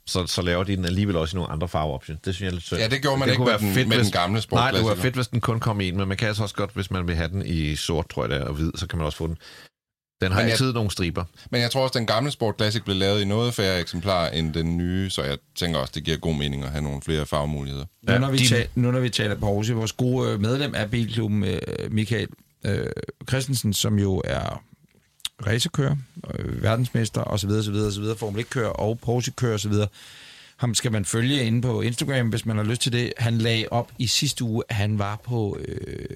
Så, så laver de den alligevel også i nogle andre farveoptioner. Det synes jeg er lidt sødt. Ja, det gjorde man ikke kunne med være den- med den hvis- gamle Nej, det var sportklassiker. fedt, hvis den kun kom i en, men man kan altså også godt, hvis man vil have den i sort, tror jeg det er, og hvid, så kan man også få den. Den har Men jeg- altid nogle striber. Men jeg tror også, den gamle Sport Classic blev lavet i noget færre eksemplarer end den nye, så jeg tænker også, det giver god mening at have nogle flere farvemuligheder. Nu når, vi de- ta- nu når vi taler Porsche, vores gode øh, medlem af bilklubben, øh, Michael øh, Christensen, som jo er racerkører, øh, verdensmester osv. osv. osv. Formel 1-kører og Porsche-kører osv. Ham skal man følge inde på Instagram, hvis man har lyst til det. Han lagde op i sidste uge, at han var på... Øh,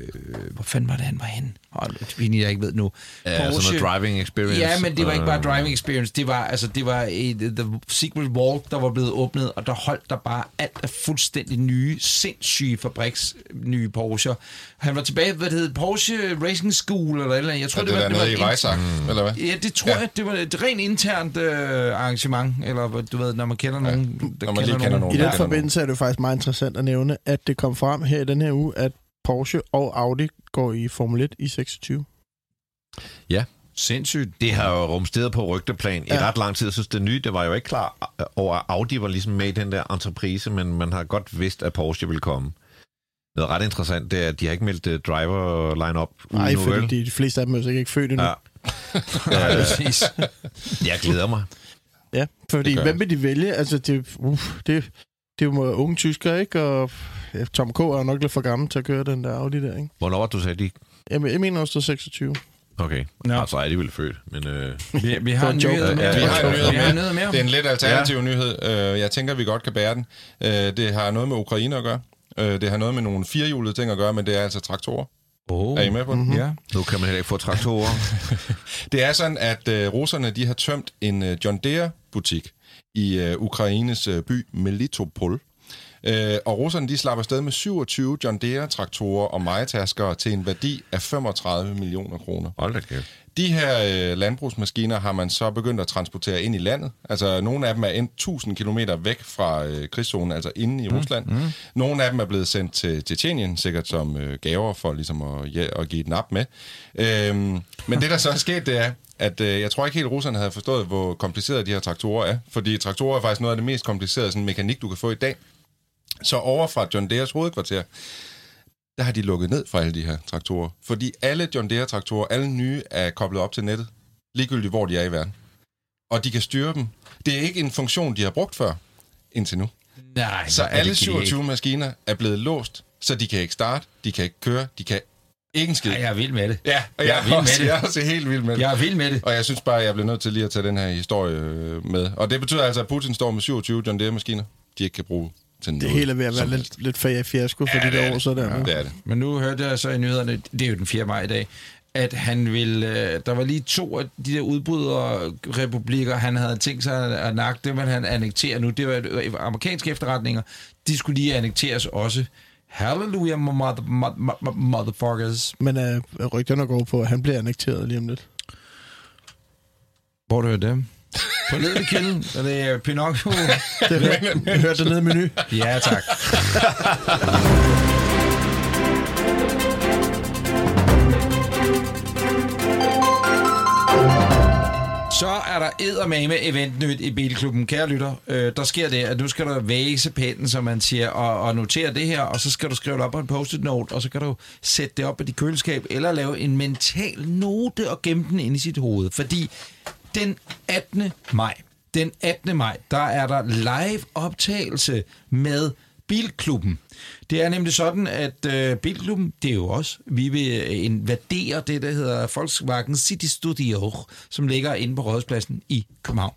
hvor fanden var det, han var henne? Hold, det er pinligt, jeg ikke ved nu. Ja, sådan Altså noget driving experience. Ja, men det var ikke bare Øh. driving experience. Det var, altså, det var et, øh, The Secret Walk, der var blevet åbnet, og der holdt der bare alt af fuldstændig nye, sindssyge fabriks nye Porsche. Han var tilbage, hvad det hed, Porsche Racing School, eller et eller andet. Jeg tror, Så Altså, det, det var, der nede i en- Rejsak, mm. eller hvad? Ja, det tror ja. jeg. Det var et rent internt øh, arrangement, eller hvad- du ved, når man kender nogen. Ja. Der når man lige kender nogen. I Ja. den forbindelse er det faktisk meget interessant at nævne, at det kom frem her i den her uge, at Porsche og Audi går i Formel 1 i 26. Sindssygt. Det har jo rumsteret på rygteplan ja. i Ja. ret lang tid. Jeg synes, det nye, det var jo ikke klar over, at Audi var ligesom med i den der entreprise, men man har godt vidst, at Porsche ville komme. Noget ret interessant, det er, at de har ikke meldt øh, driver line up Mm, Nej, nu, fordi vel? de, de fleste af dem er jo sikkert ikke født endnu. Ja. Ja, Ja, præcis. Jeg glæder mig. ja Det fordi gør hvem vil de vælge? Altså, det, uff, det, det er jo unge tyskere, ikke? Og ja, Tom K. er jo nok lidt for gammel til at køre den der Audi der, ikke? Hvornår var det, du sagde de? Jamen, jeg mener også, det er 26. Okay, Nå. no. altså er de vel født, men... Øh... Vi, vi har en joke. nyhed Ja, mere. Vi har en Vi har en nyhed nyhed mere. med. Det er en lidt alternativ ja. nyhed. Øh, Jeg tænker, vi godt kan bære den. Øh, Det har noget med Ukraine at gøre. Øh, Det har noget med nogle firehjulede ting at gøre, men det er altså traktorer. Oh. Er I med på den? Mm-hmm. Ja. Nu kan man heller ikke få traktorer. Det er sådan, at øh, russerne de har tømt en øh, John Deere-butik i øh, Ukraines øh, by Melitopol. Øh, og russerne de slapper afsted med 27 John Deere-traktorer og majetaskere til en værdi af 35 millioner kroner. Hold da kæft. De her øh, landbrugsmaskiner har man så begyndt at transportere ind i landet. Altså, nogle af dem er endt 1000 km væk fra øh, krigszonen, altså inde i mm. Rusland. Mm. Nogle af dem er blevet sendt til Tjetjenien, sikkert som øh, gaver for ligesom at, ja, at give et nap med. Øhm, men det, der så er sket, det er, at øh, jeg tror ikke helt, russerne havde forstået, hvor komplicerede de her traktorer er. Fordi traktorer er faktisk noget af det mest komplicerede sådan, mekanik, du kan få i dag. Så over fra John Deeres hovedkvarter, der har de lukket ned for alle de her traktorer. Fordi alle John Deere-traktorer, alle nye, er koblet op til nettet, ligegyldigt hvor de er i verden. Og de kan styre dem. Det er ikke en funktion, de har brugt før, indtil nu. Nej, Så hvor Altså, er det alle genialt. 27 maskiner er blevet låst, så de kan ikke starte, de kan ikke køre, de kan ikke en skid. Ej, jeg er vild med det. Ja, og jeg, jeg er vild med er også, det. jeg er også helt vild med det. Jeg er vild med det. Og jeg synes bare, at jeg bliver nødt til lige at tage den her historie øh, med. Og det betyder altså, at Putin står med 27 John Deere-maskiner, de ikke kan bruge til noget. Det hele er ved at være som helst. lidt, lidt fag i fiasko for Ja, de det er der år, det. så der. Ja, nu. det er det. Men nu hørte jeg så i nyhederne, det er jo den 4. maj i dag, at han ville, øh, der var lige to af de der udbryderrepublikker, han havde tænkt sig at nakke, det vil han annektere nu. Det var øh, amerikanske efterretninger, de skulle lige annekteres også. Hallelujah, mother, mother, mother, motherfuckers. Men øh, rygterne går på, at han bliver annekteret lige om lidt. Hvor du hørte det? På ledelig kilden, og det er Pinocchio. Det hørte, jeg hørte det nede i menu. Øh. ja, tak. Så er der eddermame eventnyt i Bilklubben. Kære lytter, øh, der sker det, at nu skal du væse pennen, som man siger, og, og notere det her, og så skal du skrive det op på en post-it note, og så kan du sætte det op i dit køleskab, eller lave en mental note og gemme den ind i sit hoved. Fordi den 18. maj, den 18. maj, der er der live optagelse med Bilklubben. Det er nemlig sådan, at øh, Bilklubben, det er jo os, vi vil øh, invadere det, der hedder Volkswagen City Studio, som ligger inde på Rådhuspladsen i København.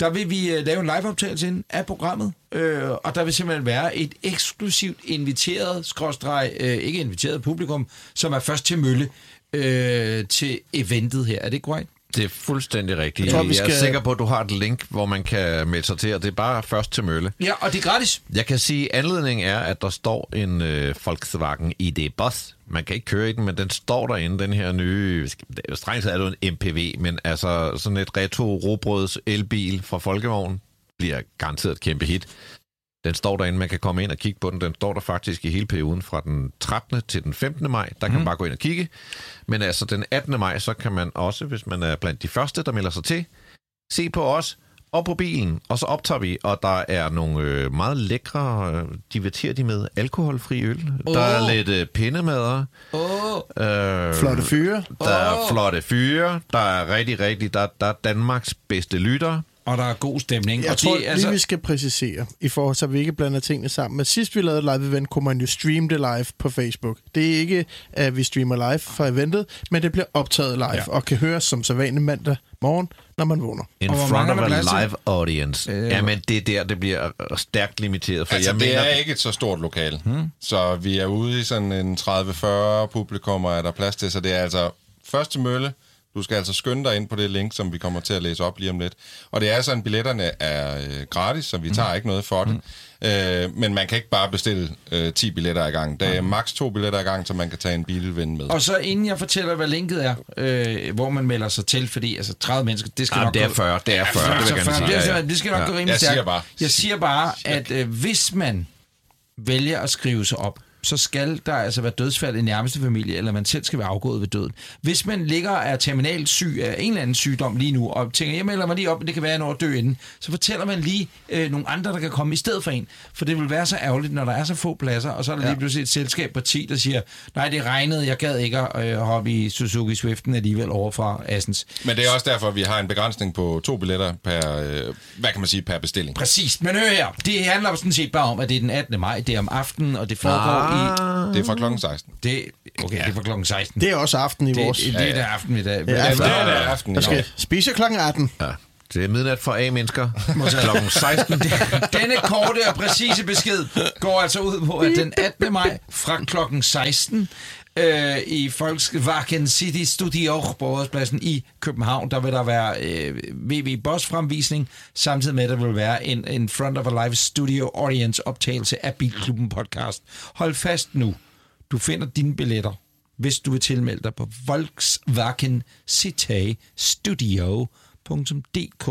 Der vil vi øh, lave en liveoptagelse ind af programmet, øh, og der vil simpelthen være et eksklusivt inviteret, skråstreg, øh, ikke inviteret publikum, som er først til mølle øh, til eventet her. Er det korrekt? Det er fuldstændig rigtigt. Jeg tror, vi Jeg er skal- sikker på, at du har et link, hvor man kan melde sig til, og det er bare først til mølle. Ja, og det er gratis. Jeg kan sige, at anledningen er, at der står en øh, Volkswagen ID Bus. Man kan ikke køre i den, men den står derinde, den her nye... det er jo Strengt taget er det jo en MPV, men altså sådan et retro robrøds elbil fra Folkevogn bliver garanteret et kæmpe hit. Den står derinde, man kan komme ind og kigge på den. Den står der faktisk i hele perioden fra den 13. til den 15. maj. Der Mhm. kan mm. man bare gå ind og kigge. Men altså den 18. maj, så kan man også, hvis man er blandt de første, der melder sig til, se på os op på bilen, og så optager vi, og der er nogle øh, meget lækre, øh, diverterer de med alkoholfri øl. Oh. Der Åh. er lidt øh, pindemader. Åh, oh, Øh, Flotte fyre. Der er Åh. flotte fyre. Der er rigtig, rigtig... Der, der er Danmarks bedste lytter. og der er god stemning. Jeg og tror det, altså... lige, vi skal præcisere, i forhold til, at vi ikke blander tingene sammen. Men sidst vi lavede et live event, kunne man jo streame det live på Facebook. Det er ikke, at vi streamer live fra eventet, men det bliver optaget live Ja. ja. og kan høres som så vanlig mandag morgen, når man vågner. In Og hvor front mange of er a der plads til? live audience. Øh. Jamen, det er der, det bliver øh, stærkt limiteret, for Altså, jeg det mener... er ikke et så stort lokal. Hmm. Så vi er ude i sådan en 30-40 publikummer, er der plads til. Så det er altså første mølle. Du skal altså skynde dig ind på det link, som vi kommer til at læse op lige om lidt. Og det er sådan, billetterne er øh, gratis, så vi tager ikke noget for det. Øh, men man kan ikke bare bestille øh, 10 billetter ad gangen. Der er maks to billetter ad gangen, så man kan tage en bilven med. Og så inden jeg fortæller, hvad linket er, øh, hvor man melder sig til, fordi altså 30 mennesker, det skal Jamen, nok Ah, det er gå- 40. Det er 40, det vil Så jeg gerne 40, sige. det, Ja, skal- ja. det skal nok Ja. gå rimelig Jeg siger stærkt. bare- Jeg siger bare, at øh, hvis man vælger at skrive sig op, så skal der altså være dødsfald i nærmeste familie, eller man selv skal være afgået ved døden. Hvis man ligger og er terminalt syg af en eller anden sygdom lige nu, og tænker, jeg melder mig lige op, men det kan være, at jeg når at dø inden, så fortæller man lige øh, nogle andre, der kan komme i stedet for en. For det vil være så ærgerligt, når der er så få pladser, og så er der ja. lige pludselig et selskab på 10, der siger, nej, det regnede, jeg gad ikke at øh, hoppe i Suzuki Swiften alligevel over fra Assens. Men det er også derfor, at vi har en begrænsning på to billetter per, øh, hvad kan man sige, per bestilling. Præcis, men hør her. Det handler sådan set bare om, at det er den 18. maj, det er om aftenen, og det Ah, foregår i... Det er fra klokken 16. Det, okay, det er fra klokken 16. Det, Ah. Det er også aften i vores... det, det er der aften i dag. Ja, Ja, det for- Altså, er det aften. Der i skal dag. spise klokken 18. Ja. Det er midnat for A-mennesker. Klokken 16. Denne korte og præcise besked går altså ud på, at den 18. maj fra klokken 16 øh, i Volkswagen City Studio på Rådspladsen i København, der vil der være øh, VW Boss fremvisning, samtidig med, at der vil være en, en Front of a Live Studio Audience optagelse af Bilklubben podcast. Hold fast nu. Du finder dine billetter, hvis du vil tilmelde dig på Volkswagen City Studio.dk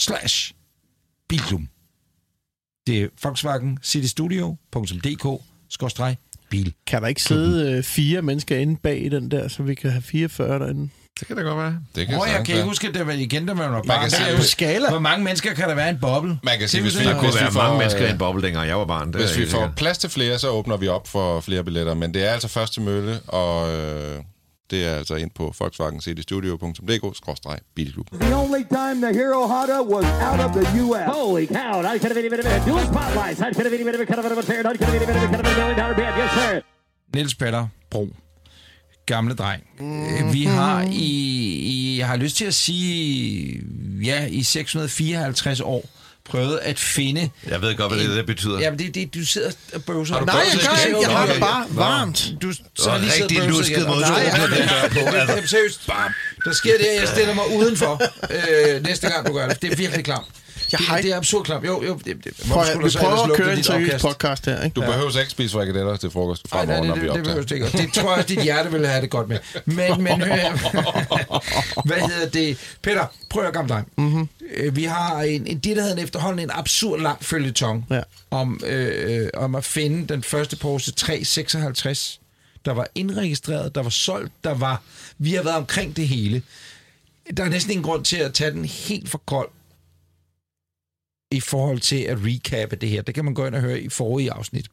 slash Bilklubben. Det er Volkswagen City Studio.dk skorstreg bil. Kan der ikke sidde øh, fire mennesker inde bag i den der, så vi kan have 44 derinde? Det kan det godt være. Det kan Hvor jeg sagtens kan ikke være. huske, at det var igen, der var noget barn. kan Der sige, er jo på skala. Hvor mange mennesker kan der være i en boble? Man kan sige, Det er jo hvis Der vi- kunne Hvis være får, mange mennesker øh, i en boble, dengang jeg var barn. Det er Hvis vi helt får sikkert. plads til flere, så åbner vi op for flere billetter, men det er altså første mølle, og øh, det er altså ind på volkswagencdstudio.dk-bilklub. The only time the Hero Honda was out of the U.S. Holy cow! Nine kind of itty bitty bitty. Dual spotlights. Nine kind of itty bitty bitty. Kind of itty bitty. Nine kind of itty bitty bitty. Kind of a million dollar band. Yes, sir. Niels Petter Bro. Gamle dreng. Mm-hmm. Vi har i, i, jeg har lyst til at sige, ja, i 654 år prøvet at finde... Jeg ved godt, hvad det, det betyder. Jamen, det, det, du sidder og bøvser. Nej, jeg gør ikke. Jeg har det bare varmt. Du Det så var har lige siddet rigtig og bøvset lusket igen. måde, du Nej, åbner nej, den nej, dør på, nej, altså. Jamen, seriøst. Bam. Der sker det, at jeg stiller mig udenfor øh, næste gang, du gør det. Det er virkelig klamt. Jeg det, har det er absurd klamt. Jo, jo. Det, det, Prøv, hvorfor at- skulle vi du så prøver ellers at lukke køre en dit seriøs opkast? podcast her, ikke? Du behøver ikke spise frikadeller til frokost Ej, nej, fremover, det, når vi det, det optager. behøver det ikke. Det tror jeg, at dit hjerte ville have det godt med. Men, men øh, hvad hedder det? Peter, prøv at gamme dig. Mhm. Mm-hmm. Vi har en, en, det, der hedder en efterhånden en absurd lang følgetong Ja. om, øh, øh, om at finde den første Porsche 356, der var indregistreret, der var solgt, der var... Vi har været omkring det hele. Der er næsten ingen grund til at tage den helt for kold i forhold til at recappe det her. Det kan man gå ind og høre i forrige afsnit.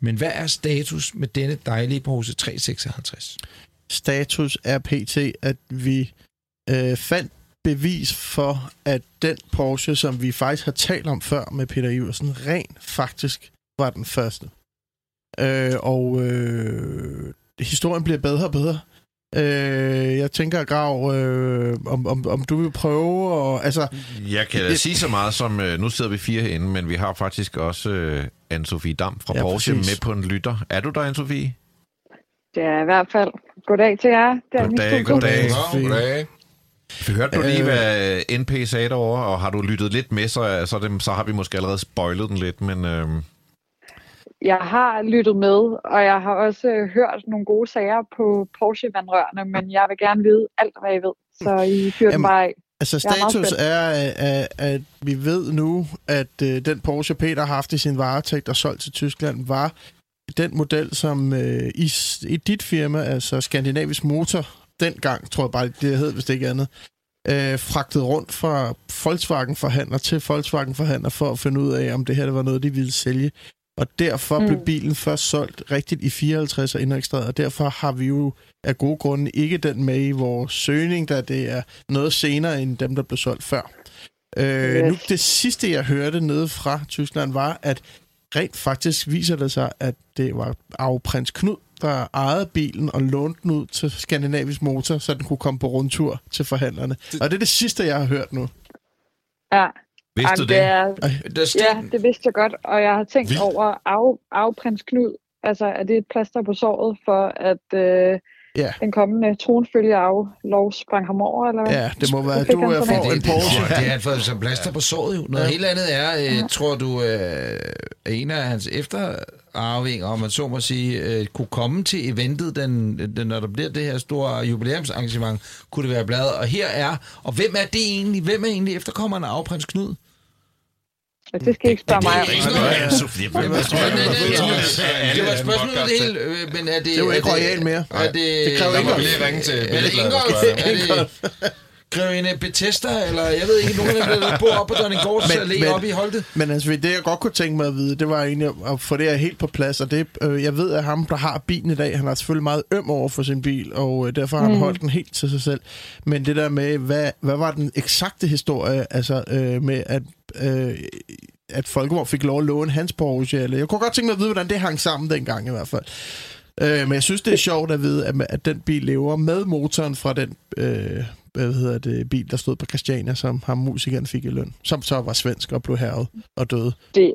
Men hvad er status med denne dejlige Porsche 356? Status er pt, at vi øh, fandt bevis for, at den Porsche, som vi faktisk har talt om før med Peter Iversen, rent faktisk var den første. Øh, og øh, historien bliver bedre og bedre. Øh, jeg tænker, Grav, øh, om, om, om du vil prøve og, altså, Jeg kan da Det- sige så meget som, øh, nu sidder vi fire herinde, men vi har faktisk også øh, Anne-Sophie Dam fra ja, Ja, Porsche præcis. med på en lytter. Er du der, Anne-Sophie? Det er i hvert fald. Goddag til jer. Det er Goddag, min goddag. studie. Nå, goddag. Hørte du lige, hvad NP sagde derovre, og har du lyttet lidt med, så, så, er det, så har vi måske allerede spoilet den lidt, men øh, Jeg har lyttet med, og jeg har også øh, hørt nogle gode sager på Porsche-vandrørene, men jeg vil gerne vide alt, hvad I ved. Så I fyrer den Jamen, bare af. Altså Jeg er meget status spændt. er, at, at vi ved nu, at øh, den Porsche Peter har haft i sin varetægt og solgt til Tyskland, var den model, som øh, i, s- i dit firma, altså Skandinavisk Motor, dengang, tror jeg bare, det hed, hvis det ikke andet, øh, fragtet rundt fra Volkswagen-forhandler til Volkswagen-forhandler for at finde ud af, om det her det var noget, de ville sælge. Og derfor mm. blev bilen først solgt rigtigt i 54 og indregistreret, og derfor har vi jo af gode grunde ikke den med i vores søgning, da det er noget senere end dem, der blev solgt før. Øh, yes. Yes. Nu det sidste, jeg hørte nede fra Tyskland, var, at rent faktisk viser det sig, at det var arveprins Knud, der ejede bilen og lånte den ud til Skandinavisk Motor, så den kunne komme på rundtur til forhandlerne. Og det er det sidste, jeg har hørt nu. Ja. Vidste du Jamen, det? Er, Der sten, ja, det vidste jeg godt, og jeg har tænkt Vildt. Vildt. over af, afprins Knud. Altså, er det et plaster på såret for, at øh, Ja. den kommende tronfølge af lov sprang ham over, eller hvad? Ja, det må være, at fik du han er sådan for en Porsche. Det, det er han fået som plaster på såret jo. Noget ja. helt andet er, øh, tror du, øh, en af hans efterarvinger, om man så må sige, øh, kunne komme til eventet, den, den, når der bliver det her store jubilæumsarrangement, kunne det være bladet. Og her er, og hvem er det egentlig? Hvem er egentlig efterkommeren af afprins Knud? Ja, det skal I ikke spørge mig om. ikke noget, Ja, Sofie, hvem er Det det? var et spørgsmål det hele, øh, men er det... Det er jo ikke er royal mere. Er det, Det kræver Der må Ingolf. vi lige ringe til Er det Billedbladet og Ingolf? spørge dem. Er det Grevinde Bethesda, eller jeg ved ikke, nogen af dem, der bor oppe på Dronninggårds Men- Allé men- oppe i Holte? Men altså, det jeg godt kunne tænke mig at vide, det var egentlig at få det her helt på plads, og det, øh, jeg ved, at ham, der har bilen i dag, han er selvfølgelig meget øm over for sin bil, og øh, derfor har han mm. holdt den helt til sig selv. Men det der med, hvad, hvad var den eksakte historie, altså øh, med, at, øh, at Folkevogn fik lov at låne hans Porsche, eller jeg kunne godt tænke mig at vide, hvordan det hang sammen dengang i hvert fald. Øh, men jeg synes, det er sjovt at vide, at, at den bil lever med motoren fra den øh, hvad hedder det, bil, der stod på Christiania, som ham musikeren fik i løn, som så var svensk og blev herret og døde. Det,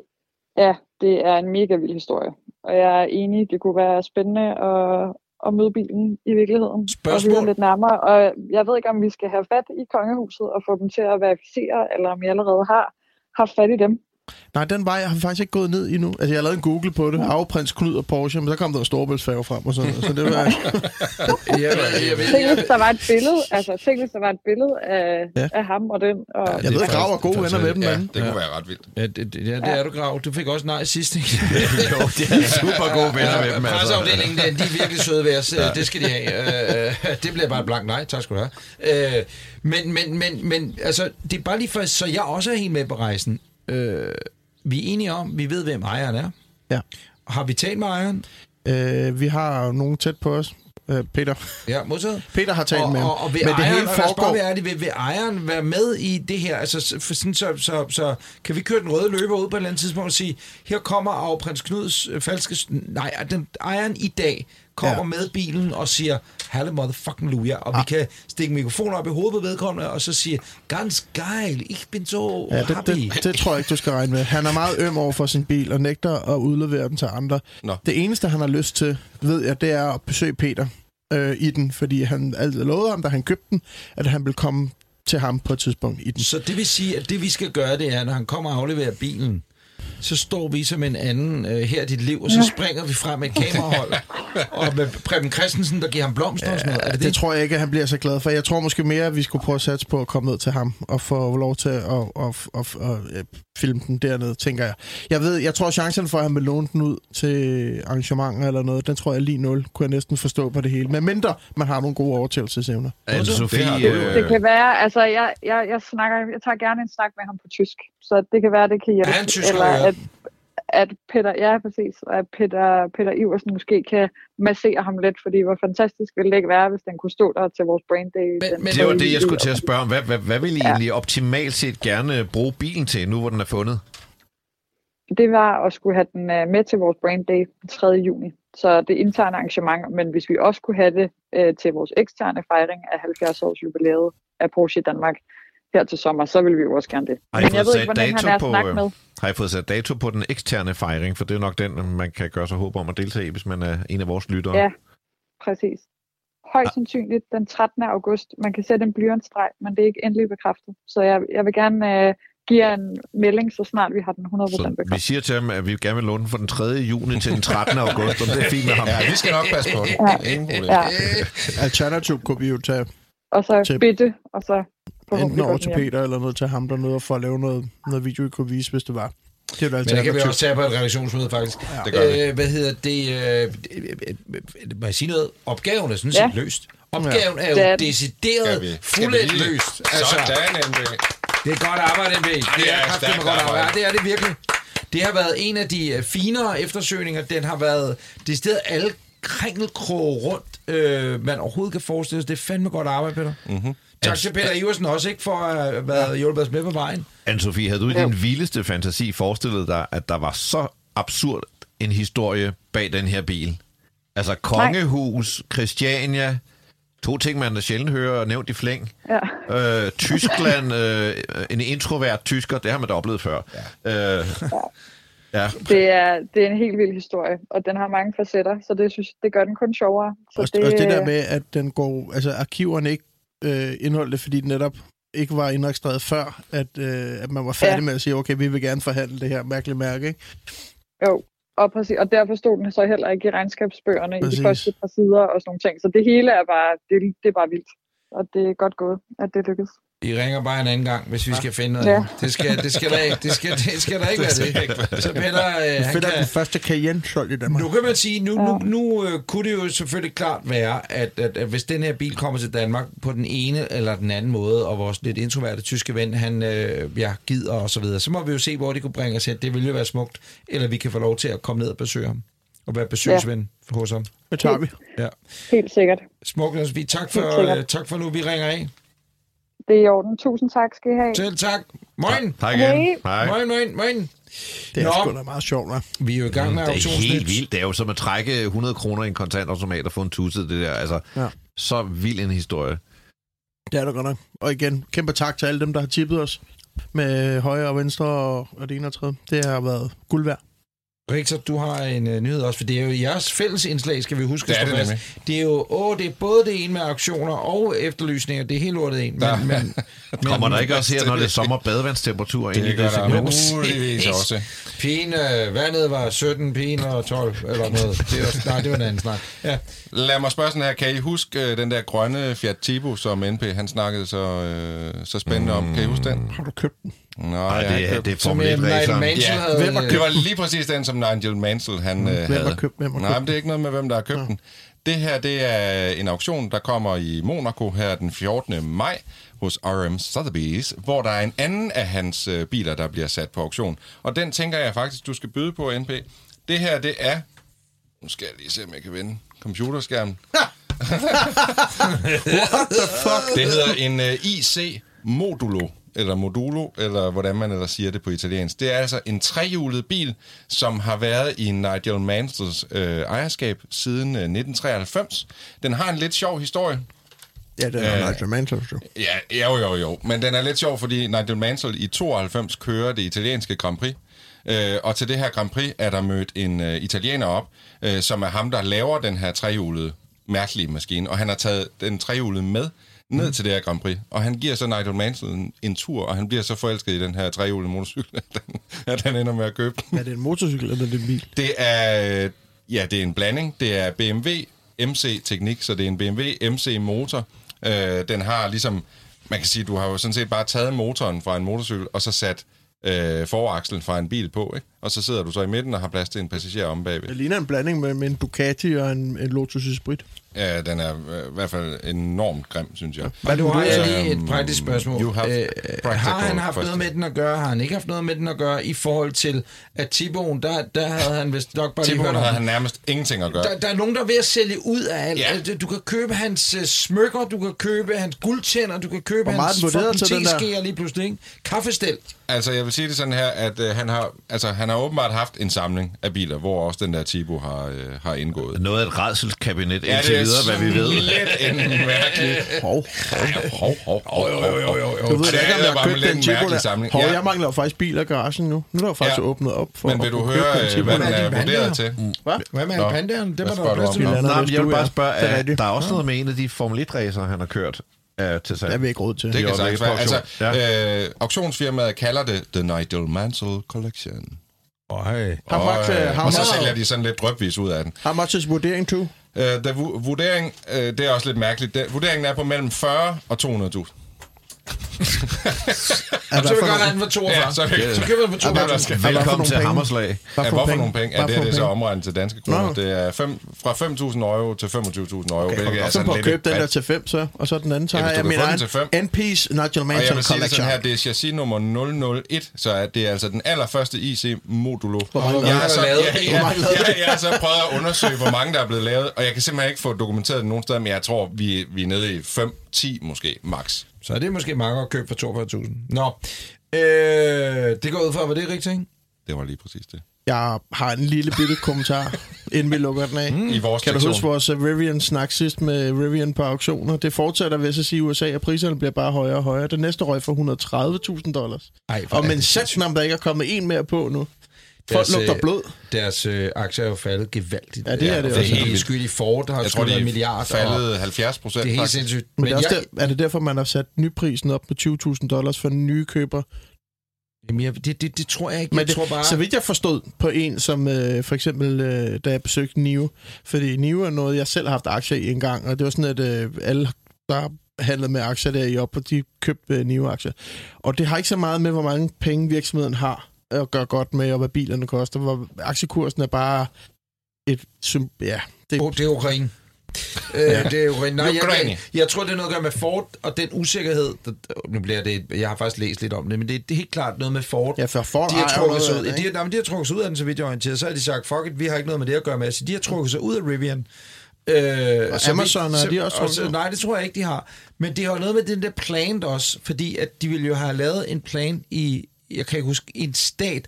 ja, det er en mega vild historie. Og jeg er enig, det kunne være spændende at, at møde bilen i virkeligheden. Og Spørgsmål? høre lidt nærmere. Og jeg ved ikke, om vi skal have fat i kongehuset og få dem til at verificere, eller om jeg allerede har haft fat i dem. Nej, den vej har faktisk ikke gået ned endnu. Altså, jeg har lavet en Google på det. Arveprins Knud og Porsche, men så kom der en storebæltsfærge frem og sådan noget. Så det var... Jeg, jeg, jeg, Tænk, hvis der var et billede, altså, tænk, hvis der var et billede af, Ja. ja. af ham og den. Og, Jeg ved, Grav er gode venner med dem, Ja, mand. det kunne være ret vildt. Ja, det, det, ja, det er du, Grav. Du fik også nej sidst, ikke? Jo, de er super gode venner med dem, altså. Presseafdelingen, der, de er virkelig søde ved os. Ja. Det skal de have. Øh, øh, det bliver bare et blank nej. Tak skal du have. Øh, men, men, men, men altså, det er bare lige for, så jeg også er helt med på rejsen. Øh, vi er enige om, vi ved, hvem ejeren er. Ja. Har vi talt med ejeren? Øh, vi har nogen tæt på os. Øh, Peter. Ja, modtaget. Peter har talt og, med ham. og, og vil men det ejeren, hele foregår... Bare, det, vil, vil ejeren være med i det her? Altså, s- for sådan, så, så, så, kan vi køre den røde løber ud på et eller andet tidspunkt og sige, her kommer af prins Knuds øh, falske... s- Nej, at den, ejeren i dag kommer Ja. ja. med bilen og siger, halle motherfucking luja, og ah. vi kan stikke mikrofoner op i hovedet på vedkommende, og så sige, ganz geil, ich bin so Ja, happy. det, det, det tror jeg ikke, du skal regne med. Han er meget øm over for sin bil og nægter at udlevere den til andre. Nå. Det eneste, han har lyst til, ved jeg, det er at besøge Peter øh, i den, fordi han altid lovede ham, da han købte den, at han ville komme til ham på et tidspunkt i den. Så det vil sige, at det vi skal gøre, det er, når han kommer og afleverer bilen, så står vi som en anden øh, her i dit liv, og så springer vi frem med et kamerahold, og med Preben Christensen, der giver ham blomster og sådan noget. Er det Det det? tror jeg ikke, at han bliver så glad for. Jeg tror måske mere, at vi skulle prøve at satse på at komme ned til ham og få lov til at, at, at, at, at øh, filme den dernede, tænker jeg. Jeg ved, jeg tror, at chancen for, at han vil låne den ud til arrangementer eller noget, den tror jeg er lige nul, kunne jeg næsten forstå på det hele. Men mindre man har nogle gode overtagelsesevner. Anne-Sophie, Det har du jo. øh, Det kan være, altså jeg, jeg, jeg, snakker, jeg tager gerne en snak med ham på tysk, så det kan være, det kan hjælpe. Er han tysker, eller ja? at, at Peter, ja præcis, og at Peter, Peter Iversen måske kan massere ham lidt, fordi hvor fantastisk ville det ikke være, hvis den kunne stå der til vores brain day. Men- den men det var tredje det, jeg skulle juli. til at spørge om. Hvad, hvad, hvad vil I egentlig optimalt set gerne bruge bilen til, nu hvor den er fundet? Det var at skulle have den øh, med til vores brain day den 3. juni. Så det interne arrangement, men hvis vi også kunne have det øh, til vores eksterne fejring af 70 års jubilæet af Porsche i Danmark her til sommer, så ville vi jo også gerne det. Har I men jeg fået ved sat ikke, hvordan dato han er at på, snakke øh, med. Har I fået sat dato på den eksterne fejring? For det er nok den, man kan gøre sig håb om at deltage i, hvis man er en af vores lyttere. Ja, præcis. Højst sandsynligt den 13. august. Man kan sætte en blyantstreg, men det er ikke endelig bekræftet. Så jeg, jeg vil gerne øh, give jer en melding, så snart vi har den 100% Så vi bekræftet. siger til ham, at vi gerne vil låne den fra den 3. juni til den 13. august, om det er fint med ham. Ja, vi skal nok passe på den. Ingen problem. Ja, Alternativ kunne vi jo tage og så Til- bitte, og så enten forhåbentlig går over den til hjem. Peter eller noget til ham dernede for at lave noget, noget video, I kunne vise, hvis det var. Det er jo et Men det kan vi alternativ. også tage på et redaktionsmøde, faktisk. Det gør vi. Øh, hvad hedder det? Øh, øh, øh, øh, må jeg sige noget? Opgaven er sådan set Ja. løst. Opgaven er jo Det er ja. Skal den. vi- decideret skal vi fuldendt lige- løst. Altså, Sådan, MB. det er godt arbejde, MB. Det, det er er kraftigt stærkt med godt arbejde. arbejde. Ja, det er det virkelig. Det har været en af de øh, finere eftersøgninger. Den har været decideret alle kringelkroge rundt, øh, man overhovedet kan forestille sig. Det er fandme godt arbejde, Peter. Mm-hmm. Tak til Peter Iversen også, ikke, for at have været hjulpet os med på vejen. Anne-Sophie, havde du i Jo. din vildeste fantasi forestillet dig, at der var så absurd en historie bag den her bil? Altså kongehus, Christiania, to ting, man sjældent hører nævnt i flæng. Ja. Øh, Tyskland, øh, en introvert tysker, det har man da oplevet før. Ja. Øh, ja. Det er, det er en helt vild historie, og den har mange facetter, så det, synes, det gør den kun sjovere. Så Også det, også det der med, at den går, altså arkiverne ikke øh, indholdt det, fordi den netop ikke var indregistreret før, at, øh, at man var færdig ja. Ja. med at sige, okay, vi vil gerne forhandle det her mærkelige mærke, ikke? Jo, og, præcis, og derfor stod den så heller ikke i regnskabsbøgerne præcis. i Præcis. de første par sider og sådan nogle ting. Så det hele er bare, det, det er bare vildt. Og det er godt gået, at det lykkedes. I ringer bare en anden gang, hvis vi skal finde noget. Ja. Det skal, det skal der ikke, det skal, det skal der ikke være det. Så Peter, øh, han Fedt, at kan, den første Cayenne solgt i Danmark. Nu kan man sige, nu, nu, nu øh, kunne det jo selvfølgelig klart være, at, at, at hvis den her bil kommer til Danmark på den ene eller den anden måde, og vores lidt introverte tyske ven, han øh, ja, gider og så videre, så må vi jo se, hvor det kunne bringe os hen. Det ville jo være smukt, eller vi kan få lov til at komme ned og besøge ham, og være besøgsven ja. hos ham. Det tager vi. Ja. Helt sikkert. Smukt, altså, vi tak Helt for, sikkert. øh, tak for nu, vi ringer af. Det er i orden. Tusind tak skal I have. Selv tak. Moin! Hej igen. Hej. Hej. Moin, moin, moin. Det er Nå. sgu da meget sjovt, hva'? Vi er jo i gang med Det er helt auktionsnet. vildt. Det er jo som at trække 100 kroner i en kontantautomat og få en tusse, det der. Altså, ja. Ja. så vild en historie. Det er det godt nok. Og igen, kæmpe tak til alle dem, der har tippet os med højre og venstre og, og det ene og tredje. Det har været guld værd. Victor, du har en uh, nyhed også, for det er jo jeres fælles indslag, skal vi huske. Det er at slå det fast. det er jo åh, det er både det ene med auktioner og efterlysninger. Det er helt lortet en. Men, men, Kommer der ikke også her, når det er sommer badevandstemperatur ind i Det gør det? der segment? muligvis også. Pigen, øh, vandet var 17, pigen og 12, eller noget. Det var, nej, det var en anden snak. Ja. Lad mig spørge sådan her. Kan I huske øh, den der grønne Fiat Tipo, som NP han snakkede så, øh, så spændende om? Kan I huske den? Har du købt den? Nej, Ej, det, er, det er Som Formel øh, Nigel 1-raceren. Mansell Ja, havde... hvem har Mm. øh, Det var lige præcis den, som Nigel Mansell han, øh, havde. hvem har købt- Mm. hvem har Nej, købt men det er ikke noget med, hvem der har købt den. Det her, det er en auktion, der kommer i Monaco her den 14. maj hos RM Sotheby's, hvor der er en anden af hans øh, biler, der bliver sat på auktion. Og den tænker jeg faktisk, du skal byde på, NP. Det her, det er... Nu skal jeg lige se, om jeg kan vende computerskærmen. Det hedder en uh, IC Modulo, eller Modulo, eller hvordan man ellers siger det på italiensk. Det er altså en trehjulet bil, som har været i Nigel Mansells øh, ejerskab siden øh, 1993. Den har en lidt sjov historie. Ja, det er øh, Nigel Mansell, jo. Ja, jo, jo, jo. Men den er lidt sjov, fordi Nigel Mansell i 92 kører det italienske Grand Prix. Øh, og til det her Grand Prix er der mødt en øh, italiener op, øh, som er ham, der laver den her trehjulede, mærkelige maskine. Og han har taget den trehjulede med ned mm. til det her Grand Prix. Og han giver så Nigel Mansell en, en tur, og han bliver så forelsket i den her trehjulede motorcykel, at han, at han ender med at købe den. Er det en motorcykel eller er det en bil? Det er, ja, det er en blanding. Det er BMW MC-teknik, så det er en BMW MC-motor. Øh, den har ligesom, man kan sige, du har jo sådan set bare taget motoren fra en motorcykel, og så sat øh, forakslen fra en bil på, ikke? Og så sidder du så i midten og har plads til en passager om bagved. Det ligner en blanding med, med en Ducati og en, en Lotus Esprit. Ja, den er øh, i hvert fald enormt grim, synes jeg. Men nu har jeg Altså, lige et øhm, praktisk spørgsmål. you have Øh, practical har han haft noget question. med den at gøre? Har han ikke haft noget med den at gøre i forhold til, at Tiboen, der, der havde han vist nok bare lige Tiboen hørt om havde den. han nærmest ingenting at gøre. Der, der er nogen, der er ved at sælge ud af alt. Ja. Ja. Du kan købe hans uh, smykker, du kan købe hans guldtænder, du kan købe meget hans er den vurderet fucking til, den der? teskeer lige pludselig. Ikke? Kaffestel. Altså, jeg vil sige det sådan her, at øh, han, har, altså, han har åbenbart haft en samling af biler, hvor også den der Tibo har, øh, har indgået. Noget af et redselskabinet ja, indtil videre, hvad vi ved. Lidt en mærkelig... Hov. Hov, hov, hov, hov, hov, hov. Du ved da ikke, om jeg har bare købt lidt den en Tipo mærkelig der. samling. Hov, Ja. jeg mangler jo faktisk bil af garagen nu. Nu er der jo faktisk Ja. åbnet op for Men vil at du kunne købe høre, den øh, Tipo hvad der. den er de vandler? vurderet til? Hvad? Hvad med Nå. pandaen? Det Hvad var der spørger du plads om? til. Nå. nok. Noget Nej, vidste jeg du, vil bare ja. spørge, Det er at rigtigt. Mm. der er også noget med en af de Formel 1-racer, han har kørt øh, til Det salg. har vi ikke råd til. Det er kan sagtens være. oplægget på Altså, auktion. øh, auktionsfirmaet kalder det The Nigel Mansell Collection. How Og, much, uh, øh, how og så much- sælger de sådan lidt drøbvis ud af den. How much is vurdering to? Øh, der vu- vurdering, øh, det er også lidt mærkeligt. Der, vurderingen er på mellem 40 og 200.000. At Så hvad vil for vi godt have nogle- den for 42. Ja, så er vi- så køber vi den for Ja, hvad 42. der skal- hvad for Velkommen nogle til penge? Hammerslag. Hvad Ja, hvorfor nogle penge? Ja, Hvad det for er nogle det så penge? omregnet til danske kroner. Nå. Det er fem, fra 5.000 euro til 25.000 euro, okay, Okay, hvilket er og så sådan på at Altså, lidt købe et den der bredt- til 5, så. Og så den anden, så Ja, har hvis jeg du min kan få egen den til fem. NP's Nigel Og jeg Manson vil sige det sådan Collection. her, det er chassis nummer 001, så er det altså den allerførste IC Modulo. mange jeg er har der så, lavet? jeg, jeg, Hvor mange er der? jeg, jeg har så prøvet at undersøge, hvor mange der er blevet lavet, og jeg kan simpelthen ikke få dokumenteret det nogen steder, men jeg tror, vi, vi er nede i 5-10 måske, max. Så er det måske mange at købe for 42.000. Nå, øh, det går ud fra, var det rigtigt, ikke? Det var lige præcis det. Jeg har en lille bitte kommentar, inden vi lukker den af. Mm. I vores Kan du sektion. huske vores øh, Rivian snak sidst med Rivian på auktioner? Det fortsætter ved at sige i USA, at priserne bliver bare højere og højere. Det næste røg for 130.000 dollars. Ej, hvor Og er men det satan, om der ikke er kommet en mere på nu. Folk Deres, øh, lugter blod. Deres øh, aktier er jo faldet gevaldigt. Ja, det er det og også. Det er helt skyld i Ford, der har Jeg tror, skudt en de milliard. er og faldet 70 procent. Det er helt sindssygt. Men, men det er, også der, er det derfor, man har sat nyprisen op med 20.000 dollars for nye køber? Jamen, jeg, det, det, det tror jeg ikke. Men jeg det, tror bare... Så vidt jeg forstod på en, som øh, for eksempel, øh, da jeg besøgte Nive, fordi Nive er noget, jeg selv har haft aktier i en gang, og det var sådan, at øh, alle, der handlede med aktier der i op, og de købte øh, Nive-aktier. Og det har ikke så meget med, hvor mange penge virksomheden har at gøre godt med, og hvad bilerne koster. Hvor aktiekursen er bare et... sym- Ja, det, Oh, det er Ukraine. Øh, det er Ukraine. Nej, jeg, Ukraine. jeg, jeg tror, det er noget at gøre med Ford og den usikkerhed. Der, nu bliver det... Jeg har faktisk læst lidt om det, men det, det er helt klart noget med Ford. ja for folk De har, trukket sig ud, de, har, nej, men de har trukket sig ud af den, så vidt jeg er orienteret. Så har de sagt, fuck it, vi har ikke noget med det at gøre med. Så de har trukket sig ud af Rivian. Øh, Og så Amazon, har så- de også trukket sig ud? Nej, det tror jeg ikke, de har. Men det har jo noget med den der plan også, fordi at de ville jo have lavet en plan i, jeg kan ikke huske, en stat,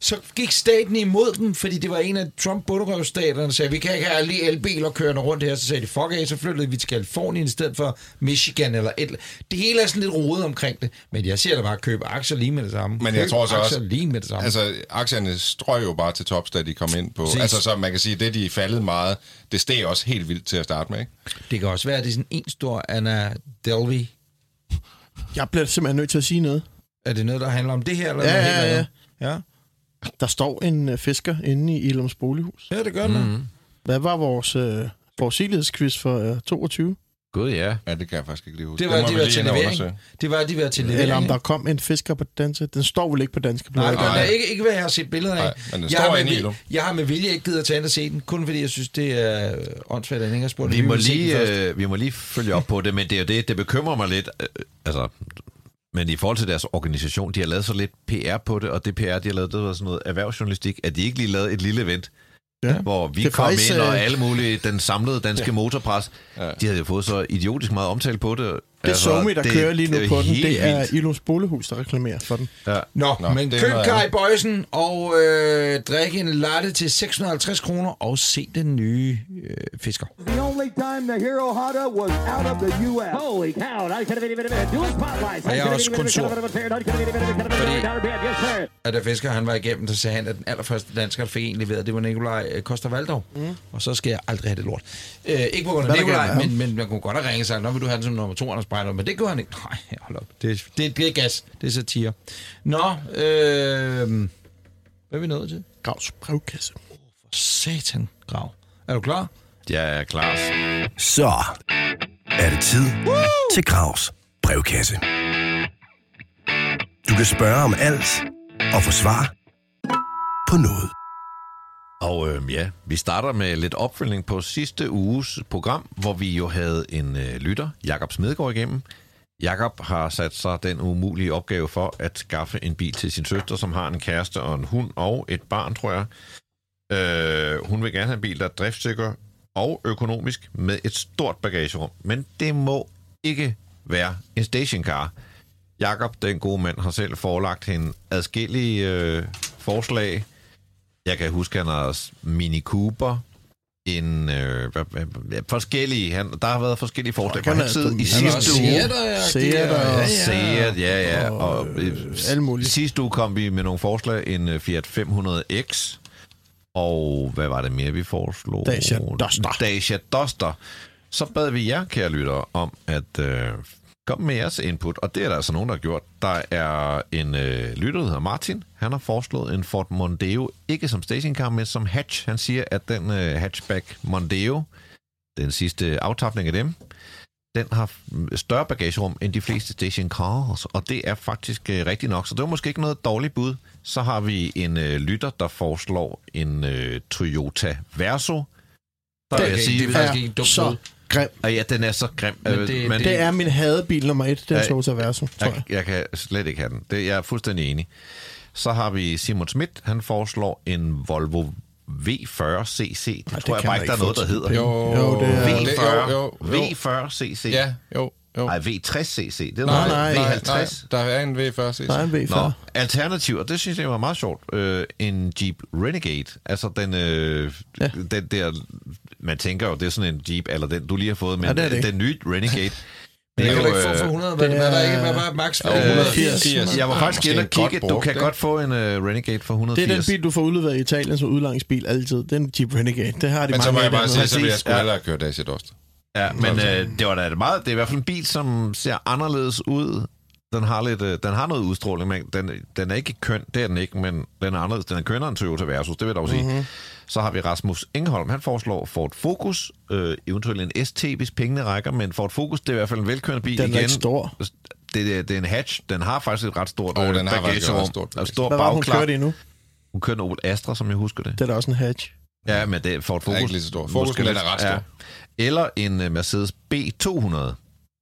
så gik staten imod dem, fordi det var en af trump bunderøvstaterne der sagde, vi kan ikke have alle de elbiler kørende rundt her. Så sagde de, fuck af, så flyttede vi til Kalifornien i stedet for Michigan eller et Det hele er sådan lidt rodet omkring det. Men jeg ser da bare, købe aktier lige med det samme. Men jeg Køb tror så aktier også- lige med det samme. Altså, aktierne strøg jo bare til tops, da de kom ind på. Præcis. Altså, så man kan sige, det de er faldet meget, det steg også helt vildt til at starte med, ikke? Det kan også være, at det er sådan en stor Anna Delvey. Jeg bliver simpelthen nødt til at sige noget. Er det noget, der handler om det her? Eller Ja, noget ja, helt ja. andet? ja. Der står en øh, fisker inde i Ilums bolighus. Ja, det gør det. Mm. Hvad var vores øh, forudsigelighedsquiz for øh, 22? Gud, ja. Ja, det kan jeg faktisk ikke lige huske. Det Den var, må de vi var lige til ind og levering. undersøge. Det var, de var til levering. Eller om ikke? der kom en fisker på danske. Den står vel ikke på danske Nej, blade. nej, nej. Ikke, ikke hvad jeg har set billeder af. Nej, men den jeg, har står med, inde i vil- Ilum. jeg har med vilje ikke givet at tage ind og se den, kun fordi jeg synes, det er øh, åndssvagt, at jeg ikke har spurgt. Vi om må, vil se den først. lige, øh, vi må lige følge op på det, men det er jo det, det bekymrer mig lidt. Øh, altså, men i forhold til deres organisation, de har lavet så lidt PR på det, og det PR, de har lavet, det var sådan noget erhvervsjournalistik, at de ikke lige lavede et lille event, Ja. ja. hvor vi Mm. Det er kom faktisk, ind og øh, alle mulige, den samlede danske ja. motorpres, de havde jo fået så idiotisk meget omtale på det. Altså, Det er Somi, der kører lige nu det er på den. helt Det er vildt. Ilums Bolehus, der reklamerer for den. Ja. Nå, Nå, Nå, men det er køb noget Kai andet. Bøjsen og øh, drik en latte til 650 kroner og se den nye øh, fisker. The only time the Hero Honda was out of the U.S. Holy cow! Not gonna be any minute. Do spotlight. Og jeg er også kun sur, Yes, sir. Og da Fisker han var igennem, så sagde han, at den allerførste dansker, der fik en leveret, det var Nikolaj øh, Koster Valdov. Mm. Og så skal jeg aldrig have det lort. Øh, ikke på grund af Hvad er der Nikolaj, galt med men, men man kunne godt have ringet sig, når vil du have den som nummer to, Anders Brejner? Men det gjorde han ikke. Nej, hold op. Det, det, det er gas. Det er satire. Nå, øh, hvad er vi nået til? Gravs brevkasse. Satan, grav. Er du klar? Jeg er klar. Så er det tid til Gravs brevkasse. Du kan spørge om alt og få svar på noget. Og øhm, ja, vi starter med lidt opfølgning på sidste uges program, hvor vi jo havde en øh, lytter, Jakob Smedegaard igennem. Jakob har sat sig den umulige opgave for at skaffe en bil til sin søster, som har en kæreste og en hund og et barn, tror jeg. Øh, hun vil gerne have en bil, der er driftsikker og økonomisk med et stort bagagerum. Men det må ikke være en stationcar. Jakob, den gode mand, har selv forelagt hende adskillige øh, forslag. Jeg kan huske, han har s- Mini Cooper, en øh, hvad, hvad, hvad, forskellige, han, der har været forskellige forslag. Fuck, han Han er tid dum. i Han er også sidste uge. Seat. Seat og- ja, ja. Seat, ja, ja. Og, Og, øh, øh, alle mulige. Sidste uge kom vi med nogle forslag, en øh, Fiat 500X, og hvad var det mere, vi foreslog? Dacia Duster. Dacia Duster. Så bad vi jer, kære lyttere, om at øh, komme med jeres input, og det er der altså nogen, der har gjort. Der er en øh, lytter, der hedder Martin. Han har foreslået en Ford Mondeo, ikke som stationcar, men som hatch. Han siger, at den øh, hatchback Mondeo, den sidste aftapning af dem, den har f- større bagagerum end de fleste station cars, og det er faktisk øh, rigtigt nok. Så det var måske ikke noget dårligt bud. Så har vi en øh, lytter, der foreslår en øh, Toyota Verso. Så vil Okay, jeg sige, det er faktisk ikke et dumt så bud. grim. at ja, den er så grim. Men øh, det- det- Det er min hadebil nummer et, den Ja. Toyota Verso, tror jeg. jeg, jeg kan slet ikke have den. Det, jeg er fuldstændig enig. Så har vi Simon Schmidt. Han foreslår en Volvo V40 CC. Det Ej, Ej, det tror jeg kan bare man ikke, der er ikke noget, få der til hedder. penge. Jo, det er- det- V40, jo, jo, jo. V40 CC. Ja, jo, jo. Nej, V60 CC. Det er Nej, noget. nej, nej, V50. der er en V40 CC. Der er en V40. Nå, alternativ, og det synes jeg var meget sjovt, øh, en Jeep Renegade, altså den, øh, ja. Ja. den der, man tænker jo, det er sådan en Jeep, eller den, du lige har fået, men Ja, det er det ja, ikke. den nye Renegade, Det kan du ikke få øh, for 100, men hvad er der ikke? Hvad var max for 180? 180. jeg var faktisk Måske inde og godt kigge, du brugt, kan ikke? godt få en øh, Renegade for 180. Det er den bil, du får udleveret i Italien som udlejningsbil altid. Det er en Jeep Renegade. Det har de Men mange så må jeg af bare sige, dernede. så vil jeg sgu Præcis, ja. hellere køre Dacia Duster. Ja, men øh, det var da et meget, det er i hvert fald en bil, som ser anderledes ud. Den har, lidt, øh, den har noget udstråling, men den, den er ikke køn, det er den ikke, men den er anderledes. Den er kønnere end Toyota Versus, det vil jeg dog sige. Mhm. Mm-hmm. Så har vi Rasmus Engholm, han foreslår Ford Focus, øh, eventuelt en ST, hvis pengene rækker, men Ford Focus, det er i hvert fald en velkørende bil Den er igen. ikke stor. Det, det, det er en hatch, den har faktisk et ret stort Åh, øh, den har faktisk et ret bagagerum, stort og stor Hvad var det, hun bagklap. kørte i nu? Hun kørte en Opel Astra, som jeg husker det. Det er da også en hatch. Ja, men det er Ford Focus. ikke lige så stor. Focus, Måske men den lidt- er ret stor. Eller en øh, Mercedes B200.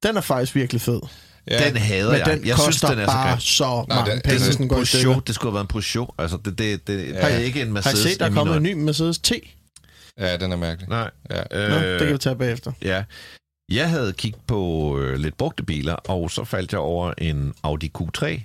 Den er faktisk virkelig fed. Ja. Den hader Men jeg. den jeg synes, koster den er så bare grim. så Nej, mange den- penge, Det hvis er den en går i Peugeot. stykker. Det skulle have været en Peugeot. Altså, det, det, det, ja. Har det I- er ikke en Har I Mercedes. set, der er i kommet en mine ny Mercedes T? Ja, den er mærkelig. øjne. Nej. Ja. Nå, Øh, det kan vi tage bagefter. Ja. Jeg havde kigget på øh, lidt brugte biler, og så faldt jeg over en Audi Q3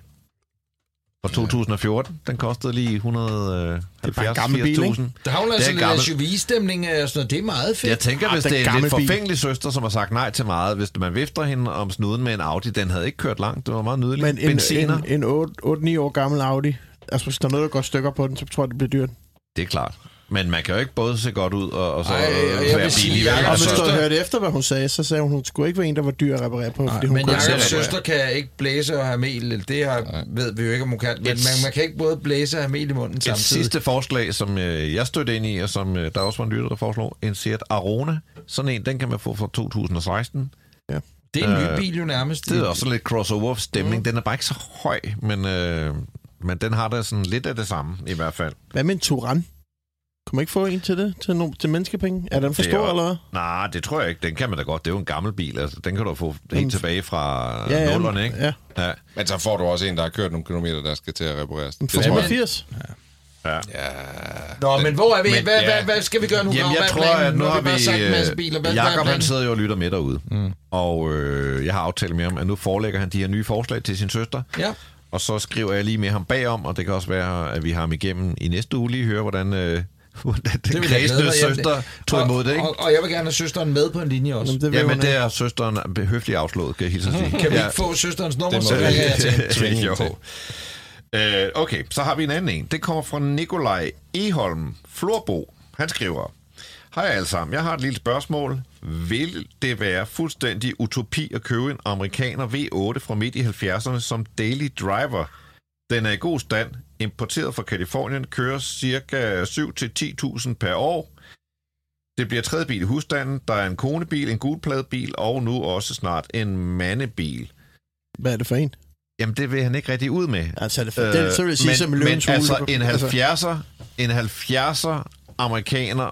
fra 2014. Den kostede lige 170.000. bare en gammel bil, ikke? Der havner Det er altså en gammel- lidt SUV-stemning og sådan noget. Det er meget fedt. Jeg tænker, hvis Ah, den det er en lidt gamle bil. forfængelig søster, som har sagt nej til meget, hvis man vifter hende om snuden med en Audi, den havde ikke kørt langt. Det var meget nydeligt. Men en, Benziner. en, en 8-9 år gammel Audi, altså hvis der er noget, der går i stykker på den, så tror jeg, det bliver dyrt. Det er klart. Men man kan jo ikke både se godt ud og, og så Ej, og jeg vil være sige, billig. vel? Jakob, Og Jeg hvis synes, du havde der- hørt efter, hvad hun sagde, så sagde hun, hun skulle ikke være en, der var dyr at reparere på, fordi hun Men kunne Jacobs selv- søster kan ikke blæse og have mel. eller Det har, ved vi jo ikke, om hun kan. Men man, man kan ikke både blæse og have mel i munden Et samtidig. sidste forslag, som øh, jeg stødte ind i, og som øh, der også var en lytter, der foreslog, en Seat Arona. Sådan en, den kan man få fra 2016. Det er en ny bil jo nærmest. Øh, Det er også sådan lidt crossover-stemning. Mm. Den er bare ikke så høj, men, øh, men den har da sådan lidt af det samme, i hvert fald. Hvad med en Turan? Kunne man ikke få en til det? Til, no- til menneskepenge? Er den for Det er stor, jo- eller hvad? Nej, det tror jeg ikke. Den kan man da godt. Det er jo en gammel bil. Altså, den kan du få Jamen, helt tilbage fra ja, ja, ja, nullerne, ikke? ja. ja. Men så får du også en, der har kørt nogle kilometer, der skal til at repareres. En Det for tror jeg. Altså, 180? Nå, men hvor er vi? Men, Hvad, hvad, ja. hvad, hvad skal vi gøre nu? Jamen, Grav? jeg Hvad er tror, planen? at nu har vi bare sagt en masse vi... biler. øh, Hvad, hvad er Jakob, han planen? sidder jo og lytter med derude. Mm. Og øh, jeg har aftalt med ham, at nu forelægger han de her nye forslag til sin søster. Ja. Og så skriver jeg lige med ham bagom, og det kan også være, at vi har ham igennem i næste uge lige høre, hvordan, øh, hvordan den vil jeg glæde kredsende mig. Jamen, søster tog og- imod det, ikke? Og, og jeg vil gerne have søsteren med på en linje også. Jamen, det vil Jamen, hun det ikke. er søsteren høfligt afslået, kan jeg hilse at sige. Mhm. Kan vi Ja. ikke få søsterens nummer, Det må så vi. ringer jeg til hende. tvinge hende til. jo. Øh, okay, så har vi en anden en. Det kommer fra Nikolaj Eholm Florbo. Han skriver, Hej alle sammen, jeg har et lille spørgsmål. Vil det være fuldstændig utopi at købe en amerikaner V8 fra midt i 70'erne som daily driver? Den er i god stand, importeret fra Kalifornien, kører ca. 7-10.000 per år. Det bliver tredje bil i husstanden. Der er en konebil, en gulpladebil og nu også snart en mandebil. Hvad er det for en? Jamen, det vil han ikke rigtig ud med. Altså, er det for, den, så vil jeg sige, Øh, men, så med men løvens hule, altså, du kan- en 70'er, en 70'er amerikaner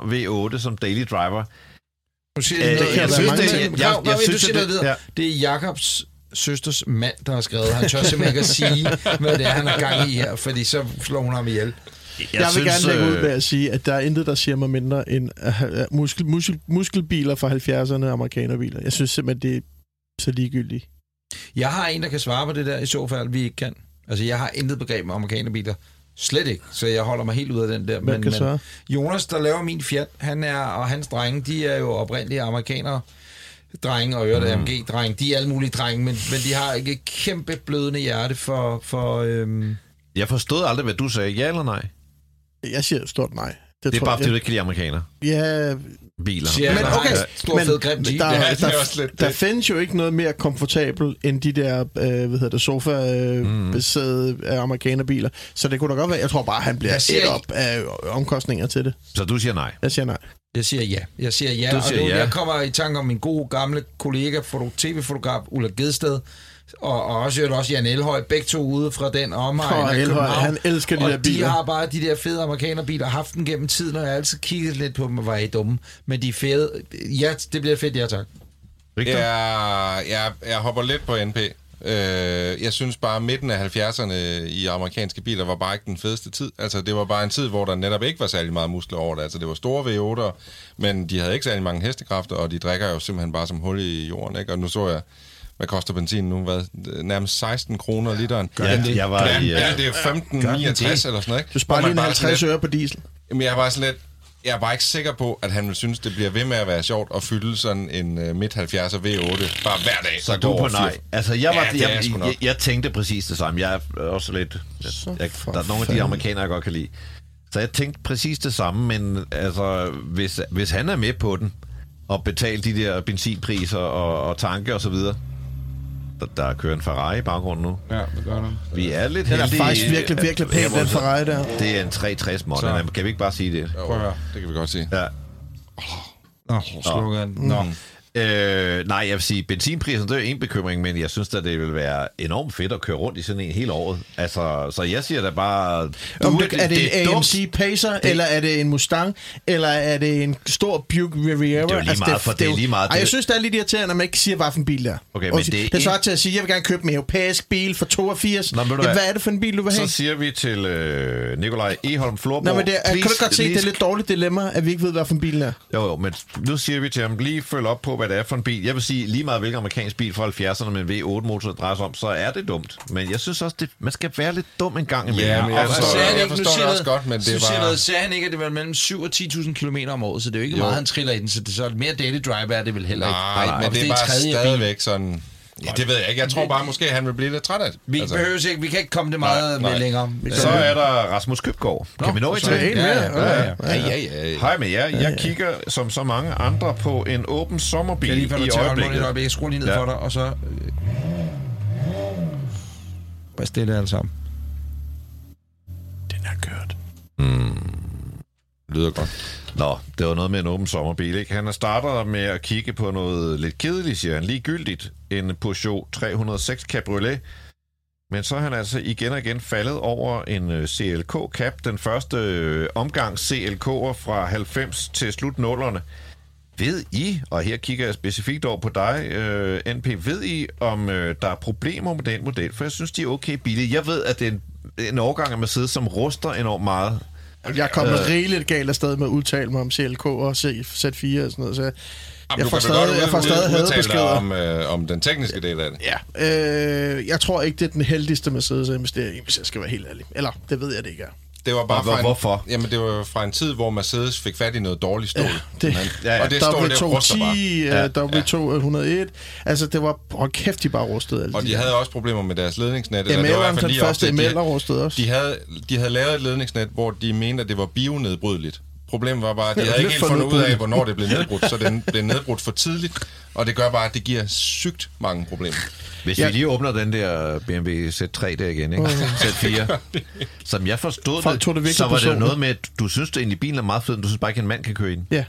V8 som daily driver. Nu siger Øh, jeg det noget. kan Jeg der synes, være det mange er- ting. Grav, Jeg- Grav, jeg inden du synes, siger at noget det- videre. Det er Jakobs søsters mand, der har skrevet. Han tør simpelthen ikke at sige, hvad det er, han har gang i her, fordi så slår hun ham ihjel. Jeg, jeg vil gerne lægge ud øh, med at sige, at der er intet, der siger mig mindre end uh, muskel, muskel, muskelbiler fra 70'erne og amerikanerbiler. Jeg synes simpelthen, det er så ligegyldigt. Jeg har en, der kan svare på det der, i så fald vi ikke kan. Altså, jeg har intet begreb om amerikanerbiler. Slet ikke, så jeg holder mig helt ud af den der. Hvem kan svare? Jonas, der laver min Fiat, han er, og hans drenge, de er jo oprindelige amerikanere. Drenge og øvrigt AMG-drenge, de er alle mulige drenge, men, men de har ikke et kæmpe blødende hjerte for... for øhm, Jeg forstod aldrig, hvad du sagde. Ja eller nej? Det Jeg siger jo stort nej. er bare, fordi jeg, du ikke kan lide amerikanere. Ja, Biler. siger, Men- men okay. Stor men fed grim der, Jeep. der, det er der, også lidt der det. findes jo ikke noget mere komfortabelt end de der øh, hvad hedder det, sofa-besæde øh, mm. amerikanerbiler. Så det kunne da godt være, jeg tror bare, han bliver Jeg siger et ikke- op af omkostninger til det. Så du siger nej. Jeg siger nej. Jeg siger ja. Jeg siger ja, Du og siger nu, ja. jeg kommer i tanke om min gode gamle kollega, foto- tv-fotograf Ulla Gedsted, og, og også, i øvrigt også Jan Elhøj, begge to ude fra den omegn Åh, af Elhøj, København. han elsker de og der de biler. har bare de der fede amerikanerbiler, haft dem gennem tiden, og jeg har altid kigget lidt på dem, og var I dumme. Men de er fede. Ja, det bliver fedt, ja tak. Victor? Ja. Jeg, jeg, jeg hopper lidt på NP. Øh, jeg synes bare, at midten af 70'erne i amerikanske biler var bare ikke den fedeste tid. Altså, det var bare en tid, hvor der netop ikke var særlig meget muskler over det. Altså, det var store V8'er, men de havde ikke særlig mange hestekræfter, og de drikker jo simpelthen bare som hul i jorden, ikke? Og nu så jeg, hvad koster benzin nu? Hvad? Nærmest 16 kroner literen. Ja, det, jeg var i, ja, øh, det er 15,69 eller sådan noget, ikke? Du sparer Hvor man lige en bare sådan 50 lidt- øre på diesel. Jamen, jeg er bare sådan lidt... Jeg er bare ikke sikker på, at han vil synes, det bliver ved med at være sjovt at fylde sådan en uh, midt-70'er V8 bare hver dag. Så der du går er på over nej. fire- Altså, jeg, var, Ja, ja, det er jeg jeg, sgu jeg, nok. jeg, jeg tænkte præcis det samme. Jeg er også lidt... Jeg, jeg, for der er nogle af de fanden. amerikanere, jeg godt kan lide. Så jeg tænkte præcis det samme, men altså, hvis, hvis han er med på den, og betaler de der benzinpriser og, og tanke og så videre, der, der kører en Ferrari i baggrunden nu. Ja, det gør det. Vi er lidt Den er heldige. faktisk virkelig, øh, virkelig pæn, den Ferrari der. Det er en 360 model. Kan vi ikke bare sige det? Jo, Prøv at høre. Det kan vi godt sige. Mm. Ja. Nå, slukker den. Nå. Øh, nej, jeg vil sige, benzinprisen, det er jo en bekymring, men jeg synes da, det vil være enormt fedt at køre rundt i sådan en hele året. Altså, så jeg siger da bare... Om du, det, er det en dumt. AMC Pacer, det, eller er det en Mustang, eller er det en stor Buick Riviera? jo lige meget, for det er lige meget. Ej, jeg Det- synes, det er lidt irriterende, at man ikke siger, hvad for en bil det er. Okay, men Undskyld. det er det er en- så til at sige, jeg vil gerne købe en europæisk bil for 82. Nå, men ved du Jamen, hvad? hvad er det for en bil, du vil have? Så siger vi til øh, Nikolaj Eholm Florborg... Nå, men det er, kan du please, ikke godt se, det er please- lidt dårligt dilemma, at vi ikke ved, hvad for en bil det er? Jo, jo, men nu siger vi til ham, lige følg op på, hvad det er for en bil. Jeg vil sige, lige meget hvilken amerikansk bil fra 70'erne med en V8-motor, der drejer sig om, så er det dumt. Men jeg synes også, det, man skal være lidt dum en gang imellem. Ja, men jeg Og forstår, sagde han jeg ikke- nu forstår siger det også noget- godt, men nu det er siger bare- Noget, sagde han ikke, at det var mellem 7 og 10.000 km om året, så det er jo ikke jo. meget, han triller i den, så det er så mere daily driver er det vel heller ikke. Nej, Og men hvis det er en bare tredje bil- stadigvæk sådan... Ja, det ved jeg ikke. Jeg tror bare, måske han vil blive lidt træt af det. Vi altså, behøver ikke, vi kan ikke komme det meget nej. med længere. Vi Så kan- er der Rasmus Købgaard. Kan vi nå i så til? er det en mere. ja, ja. ja, ja, ja. ja. Hej med jer. Jeg kigger, som så mange andre, på en åben sommerbil Jeg lige får i dig til øjeblikket. øjeblikket. Et øjeblik. Jeg skruer lige ned Ja. ja. for dig, og så... Øh, bare stille alle sammen. Den har kørt. lyder godt. Nå, det var noget med en åben sommerbil, ikke? Han starter med at kigge på noget lidt kedeligt, siger han, ligegyldigt. En Peugeot 306 Cabriolet. Men så er han altså igen og igen faldet over en øh, CLK Cap, den første øh, omgang CLK'er fra 90 til slut nullerne. Ved I, og her kigger jeg specifikt over på dig, øh, NP, ved I, om øh, der er problemer med den model? For jeg synes, de er okay billige. Jeg ved, at det er en, en årgang af Mercedes, som ruster enormt meget. Jeg er kommet øh. rigeligt galt afsted med at udtale mig om CLK og C- Z4 og sådan noget, så jeg, jeg får stadig, jeg får stadig hadbeskeder. om, øh, om den tekniske del af det. Ja, øh, jeg tror ikke, det er den heldigste Mercedes at investere i, hvis jeg skal være helt ærlig. Eller, det ved jeg, det ikke er. Det var bare Og hvor- fra en, hvorfor? Jamen, det var fra en tid, hvor Mercedes fik fat i noget dårligt stål. Det, ja, og det stål, det ruster bare. W210, ja, W201, altså det var, hold kæft, de bare rustede alle Og de havde også problemer med deres ledningsnet. ML'eren, det var i hvert fald den lige første op til, at de- ML'er rustede også. De havde, de havde lavet et ledningsnet, hvor de mente, at det var bionedbrydeligt. Problemet var bare, at de Ja, havde ikke lidt helt for fundet ud af, nedbrydeligt. hvornår det blev nedbrudt, så den blev nedbrudt for tidligt, og det gør bare, at det giver sygt mange problemer. Hvis Ja. vi lige åbner den der BMW Z3 der igen, ikke? Z4, som jeg forstod Folk tog det virkelig så var det jo personligt. noget med, at du synes det egentlig, bilen er meget fed, men du synes bare ikke, en mand kan køre i den. Ja,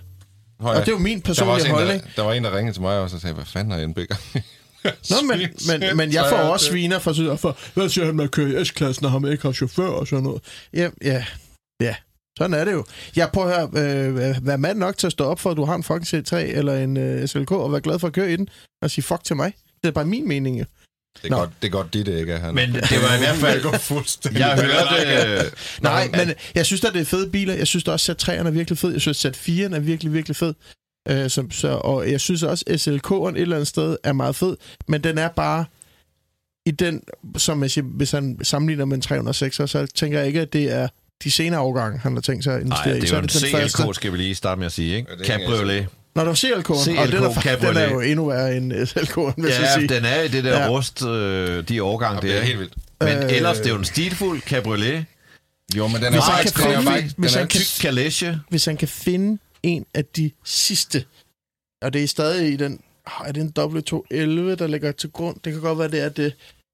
Høj, Og det er jo min der var også personlige En, holdning. der, der var en, der ringede til mig også og sagde, hvad fanden har jeg en bækker? Nå, men, men, men jeg får også sviner for, sig- for hvad siger han med at køre i S-klassen, og ham ikke har chauffør og sådan noget. Ja, ja, ja. Sådan er det jo. Jeg prøver at høre, øh, vær mand nok til at stå op for, at du har en fucking C3 eller en øh, SLK, og være glad for at køre i den, og sige fuck til mig. Det er bare min mening, jo. Det er, Nå. godt, det er godt, dit ikke er han. Men det var i hvert fald- Det går fuldstændig. Jeg hørte... Øh, Nej, men jeg synes da, det er fede biler. Jeg synes da også, at Z3'eren er virkelig fed. Jeg synes, at Z4'en er virkelig, virkelig fed. Øh, som, så, og jeg synes også, at SLK'eren et eller andet sted er meget fed. Men den er bare i den, som jeg siger, hvis han sammenligner med en 306, så tænker jeg ikke, at det er de senere årgange, han har tænkt sig at Nej, investere i. det Så er jo en den første. CLK, skal vi lige starte med at sige, ikke? Ja, det er en Cabriolet. Når du ser CLK'eren, og CLK den er, fa- den Cabriolet. er jo endnu værre end SLK'eren, vil jeg så Ja, sige. den er i det der Ja. rust, øh, de årgang Det der. er helt vildt. Men Øh. ellers, det er jo en stilfuld Cabriolet. Jo, men den er Hvis han faktisk... kan den er finde- faktisk- hvis den er han kan- Tyk kalesje. Hvis han kan finde en af de sidste, og det er stadig i den, Ah, er det en W211, der ligger til grund? Det kan godt være, det er det.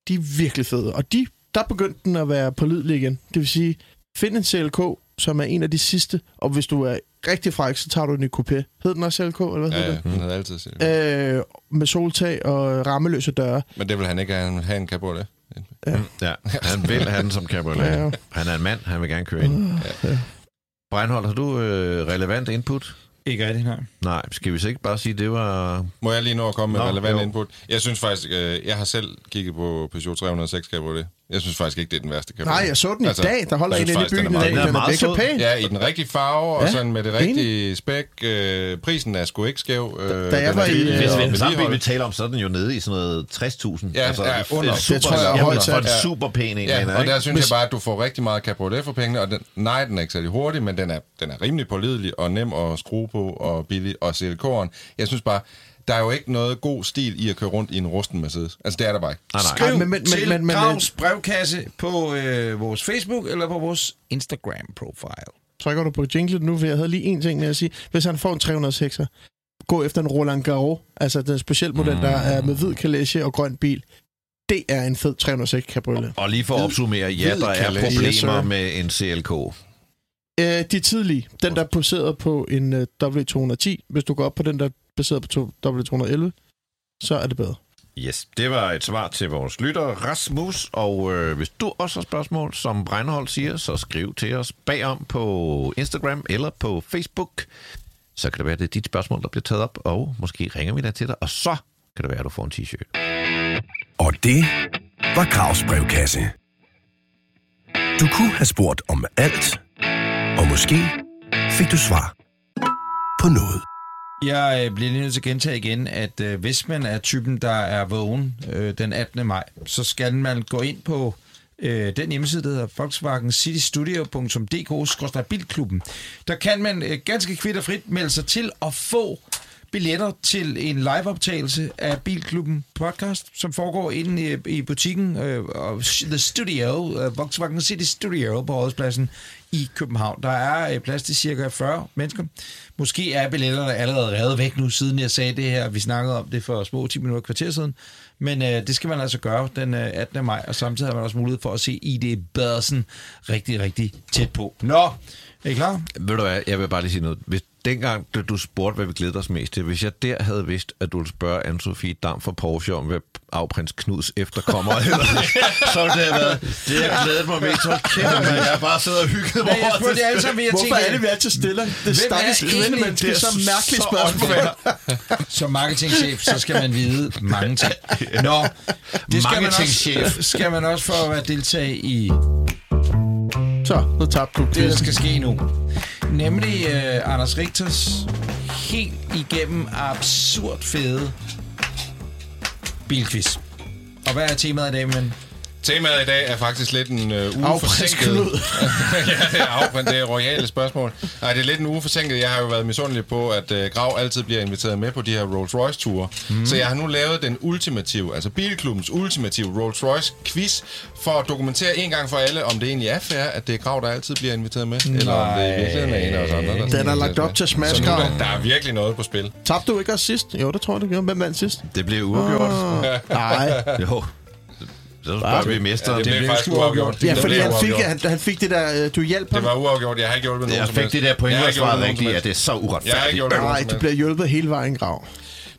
De er virkelig fede, og de, der begyndte den at være pålidelig igen. Det vil sige, find en CLK, som er en af de sidste, og hvis du er rigtig fræk, så tager du den i coupé. Hed den også LK, eller hvad Ja, hed ja, han havde altid set. det. den? Øh, med soltag og rammeløse døre. Men det vil han ikke have, have en cabriolet. Mm, Ja, han vil have den som cabriolet. Ja, Øh, ja. Han er en mand, han vil gerne køre ind. Breinholt, har du øh, relevant input? Ikke rigtig, nej. Nej, skal vi så ikke bare sige, det var... Må jeg lige nå at komme med Nå, relevant jo. input? Jeg synes faktisk, øh, jeg har selv kigget på Peugeot 306 cabriolet. Jeg synes faktisk ikke, det er den værste cabriolet. Nej, jeg så den i dag. Der holder jeg en synes inde i Altså, byen faktisk, i den er dag. Den meget- den er er meget virkelig sød. pæn. Ja, i den rigtige farve, og Ja, sådan med det enig. rigtige spæk. Øh, prisen er sgu ikke skæv. Øh, da jeg den var er i, billig øh, at Hvis vi den samme bil, vedligeholde. vi taler om, så er den jo nede i sådan noget Altså, 60.000. Ja, ja, en- under. en Det super, tror jeg er jamen, højt for en sat. super pæn en, Ja, mener, og ikke? der synes jeg bare, at du får rigtig meget cabriolet for pengene, og den, nej, den er ikke særlig hurtig, men den er, den er rimelig pålidelig og nem at skrue på og billig, og silikon. Jeg synes bare, der er jo ikke noget god stil i at køre rundt i en rusten Mercedes. Altså, det er der bare ikke. Nej, nej. Skriv Ej, men, men- men, men- til men, men, men- men- Gravs brevkasse på øh, vores Facebook eller på vores Instagram-profile. Trykker du på jinglet nu, for jeg havde lige en ting med at sige. Hvis han får en 306'er, gå efter en Roland Garros, altså den speciel model, der Mm. er med hvid kalesje og grøn bil. Det er en fed 306 cabriolet. Og lige for at opsummere, ja, hvid der er kalender. Yes, problemer sir. med en CLK. Øh, de tidlige, den der er baseret på en øh, W210, hvis du går op på den, der er baseret på to- W211, så er det bedre. Yes, det var et svar til vores lytter Rasmus, og øh, hvis du også har spørgsmål, som Breinholt siger, så skriv til os bagom på Instagram eller på Facebook. Så kan det være, det er dit spørgsmål, der bliver taget op, og måske ringer vi da til dig, og så kan det være, at du får en t-shirt. Og det var Gravs brevkasse. Du kunne have spurgt om alt, og måske fik du svar på noget. Jeg øh, bliver lige nødt til at gentage igen, at øh, hvis man er typen, der er vågen øh, den 18. maj, så skal man gå ind på øh, den hjemmeside, der hedder volkswagencitystudio.dk-bilklubben. Der kan man øh, ganske kvitt og frit melde sig til at få billetter til en liveoptagelse af Bilklubben podcast, som foregår inde i, i butikken øh, og The Studio, øh, Volkswagen City Studio på Rådhuspladsen i København. Der er øh, plads til cirka 40 mennesker. Måske er billetterne allerede revet væk nu, siden jeg sagde det her. Vi snakkede om det for små 10 minutter et kvarter siden. Men øh, det skal man altså gøre den øh, 18. maj, og samtidig har man også mulighed for at se ID Børsen rigtig, rigtig tæt på. Nå, er I klar? Ved du hvad, jeg vil bare lige sige noget. Hvis dengang du, du spurgte, hvad vi glæder os mest til, hvis jeg der havde vidst, at du ville spørge Anne-Sophie Dam fra Porsche om, hvad afprins Knuds efterkommer eller så ville det have været, det jeg glædede mig mest. Hold kæft, man. jeg har bare siddet og hygget mig Nej, jeg over spurgte det. alle sammen, jeg tænker, altid stille? Det Hvem er stakkels egentlig- kvindemenneske, Det er så mærkeligt så spørgsmål. åndssvagt. Som marketingchef, så skal man vide mange ting. Nå, det skal man, også, Marketingchef. skal man også for at være deltage i Så, nu tabte du det, der quizzen. skal ske nu. Nemlig øh, Anders Richters helt igennem absurd fede bilquiz. Og hvad er temaet i dag, men? Temaet i dag er faktisk lidt en øh, uge Afprins forsinket. Knud. ja, det er afprins, det er royale spørgsmål. Nej, det er lidt en uge forsinket. Jeg har jo været misundelig på, at øh, Grav altid bliver inviteret med på de her Rolls-Royce-ture. Mm. Så jeg har nu lavet den ultimative, altså Bilklubbens ultimative Rolls-Royce-quiz, for at dokumentere en gang for alle, om det egentlig er fair, at det er Grav, der altid bliver inviteret med, Nej. eller om det i virkeligheden er en af os andre. der Den er inviteret lagt op med. til smash, Så nu, er Grav. der, der er virkelig noget på spil. Tabte du ikke også sidst? Jo, det tror jeg, du gjorde. Hvem vandt sidst? Det blev uafgjort. Nej. Jo. Så spørger vi Ja, mesteren. det, det blev blev faktisk sgu uafgjort. uafgjort. Ja, Det fordi blev han fik, uafgjort. han, han fik det der, øh, du hjalp ham. Det var uafgjort. Jeg har ikke hjulpet nogen Jeg som fik helst. det der point, Jeg har jeg ikke hjulpet svarede nogen som rigtigt, at helst. det er så Jeg har ikke uretfærdigt. hjulpet nogen Nej, som du helst. bliver hjulpet hele vejen, Grav.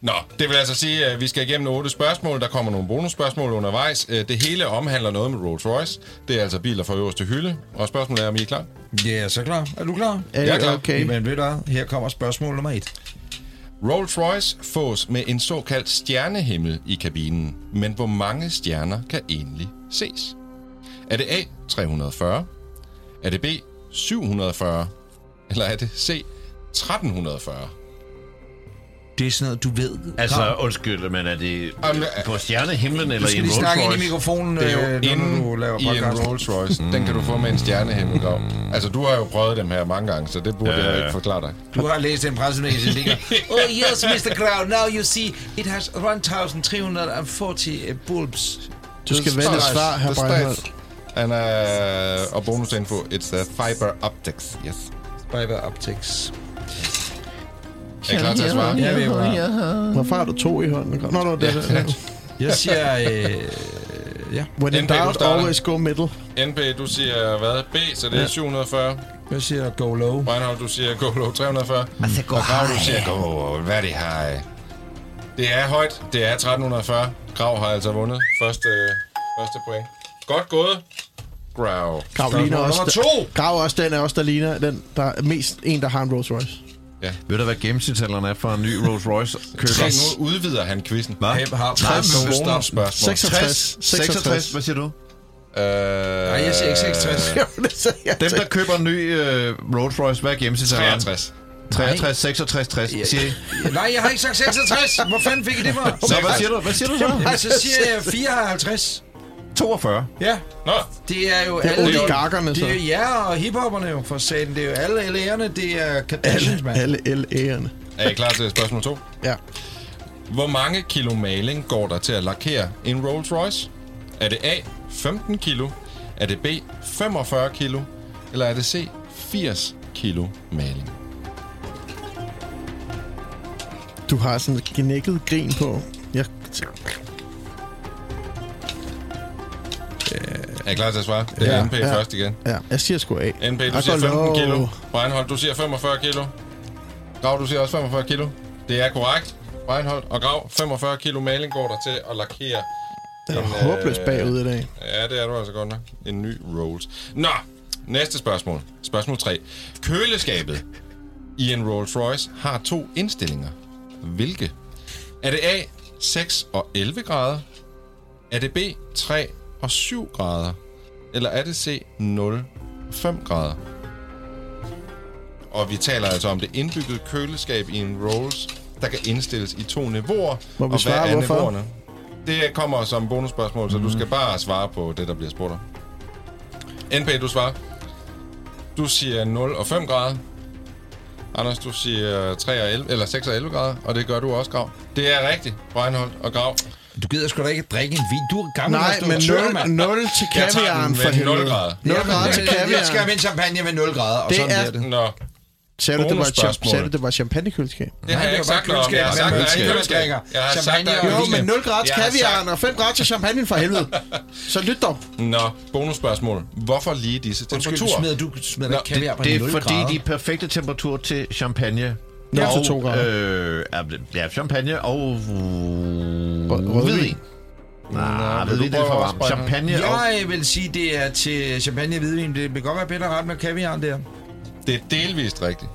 Nå, det vil altså sige, at vi skal igennem otte spørgsmål. Der kommer nogle bonusspørgsmål undervejs. Øh, Det hele omhandler noget med Rolls Royce. Det er altså biler fra øverste hylde. Og spørgsmålet er, om I er klar? Ja, yeah, så klar. Er du klar? Er Jeg er klar. Øh, okay? Jamen ved du hvad? her kommer spørgsmål nummer et. Rolls Royce fås med en såkaldt stjernehimmel i kabinen. Men hvor mange stjerner kan egentlig ses? Er det A. 340? Er det B. 740? Eller er det C. 1340? Det er sådan noget, du ved. Altså, undskyld, men er det Jamen, øh, på stjernehimlen du eller i skal en lige snakke ind i Rolls Royce? mikrofonen, Det er jo øh, øh, inden når du laver i en podcast. Rolls Royce. Den kan du få med en stjernehimmel. Grav. Altså, du har jo prøvet dem her mange gange, så det burde jeg ikke forklare dig. Du har læst en pressemeddelelse, der ligger, Oh yes, Mr. Grau, now you see, it has 1340 eh, bulbs. Du skal vælge et svar, her The Breinholt. state. And, uh, og bonusinfo, it's the fiber optics, yes. Fiber optics. Er I klar til at svare? Ja, vi er klar. Hvorfor har du to i hånden? Grav? Nå, nå, det er Ja. det. Jeg siger, øh, ja. When in Den dag, du doubt, starter. always go middle. NB, du siger hvad? B, så det er 740. Hvad siger Go Low? Breinholt, du siger go low 340. Altså, gå Og Grav, du high. siger go Hvad er det high? Det er højt. Det er 1340. Grav har altså vundet første, første point. Godt gået. Grav. Grav ligner Spørgsmål også, nummer to. Grav er også den af os, der ligner den, der er mest en, der har en Rolls Royce. Ved du, hvad gennemsnitsalderen er for en ny Rolls Royce køber? Se, nu udvider han quizzen. Hvad? Han har 60 nogle kroner. startspørgsmål. 66. 66, hvad siger du? Øh, Nej, jeg siger ikke 66. Jo, det sagde jeg. Dem, der køber en ny øh, Rolls Royce, hvad er gennemsnitsalderen? 63. 63, 66, 60. Siger I? Øh, Nej, jeg har ikke sagt 66. Hvor fanden fik I det fra? Så hvad siger du? Hvad siger du så? Jamen, så siger jeg 54. 42. Ja, Nå, det er jo Det er alle... oligarkerne, det er så. jo jer og hiphopperne jo, for satan. Det er jo alle LA'erne, det er Kardashians, mand. Alle LA'erne. er I klar til spørgsmål 2? Ja. Hvor mange kilo maling går der til at lakere en Rolls Royce? Er det A, 15 kilo? Er det B, 45 kilo? Eller er det C, 80 kilo maling? Du har sådan et genækket grin på. Jeg, Er I klar til at svare? Det er Ja. NP Ja. først igen. ja, jeg siger sgu af. NP, Jeg du siger går 15 kilo. low. Breinholt, du siger 45 kilo. Grav, du siger også 45 kilo. Det er korrekt. Breinholt og Grav, 45 kilo maling går der til at lakere. Jeg er en, håbløst øh, bagud i dag. Ja, det er du altså godt nok. En ny Rolls. Nå, næste spørgsmål. Spørgsmål 3. Køleskabet i en Rolls Royce har to indstillinger. Hvilke? Er det A, 6 og 11 grader? Er det B, 3 og 7 grader? Eller er det C, 0 og 5 grader? Og vi taler altså om det indbyggede køleskab i en Rolls, der kan indstilles i to niveauer. Må og vi hvad svare, er hvorfor? Mm. niveauerne? Det kommer som bonusspørgsmål, så du skal bare svare på det, der bliver spurgt om. NP, du svarer. Du siger 0 og 5 grader. Anders, du siger 3 og 11, eller 6 og 11 grader, og det gør du også, Grav. Det er rigtigt, Breinholt og Grav. Du gider sgu da ikke drikke en vin. Du er gammel, Nej, du men 0, mand. 0 til Jeg tager kaviaren den for med 0 helvede. grader. 0 grader til Jeg skal have kaviaren. en champagne med 0 grader, og Det sådan er- bliver det. Nå, Sagde du, det var, et champ- Bonusspørgsmål. sagde du, det var et champagnekøleskab? det har Nej, jeg ikke det var sagt bare noget om. Jeg har køleskab. sagt, der Man er ikke køleskab. køleskab. Jeg har sagt, Champagne der og Jo, er vin. men 0 grader til Jeg har kaviaren og 5 grader til champagnen for helvede. Så lyt dog. Nå, bonusspørgsmål. Hvorfor lige disse Undskyld, du temperaturer? smider, du smider da Nå, ikke kaviar på Det 0 er fordi grader. de perfekte temperatur til champagne. Nul og, til to grader. Øh, ja, ja, champagne og rødvin. hvidvin. Nej, men hvidvin du det er for prøver varmt. også, Breinholt. Champagne og... Jeg vil sige, det er til champagne og hvidvin. Det kan godt være bedre ret med kaviaren der. Det er delvist rigtigt.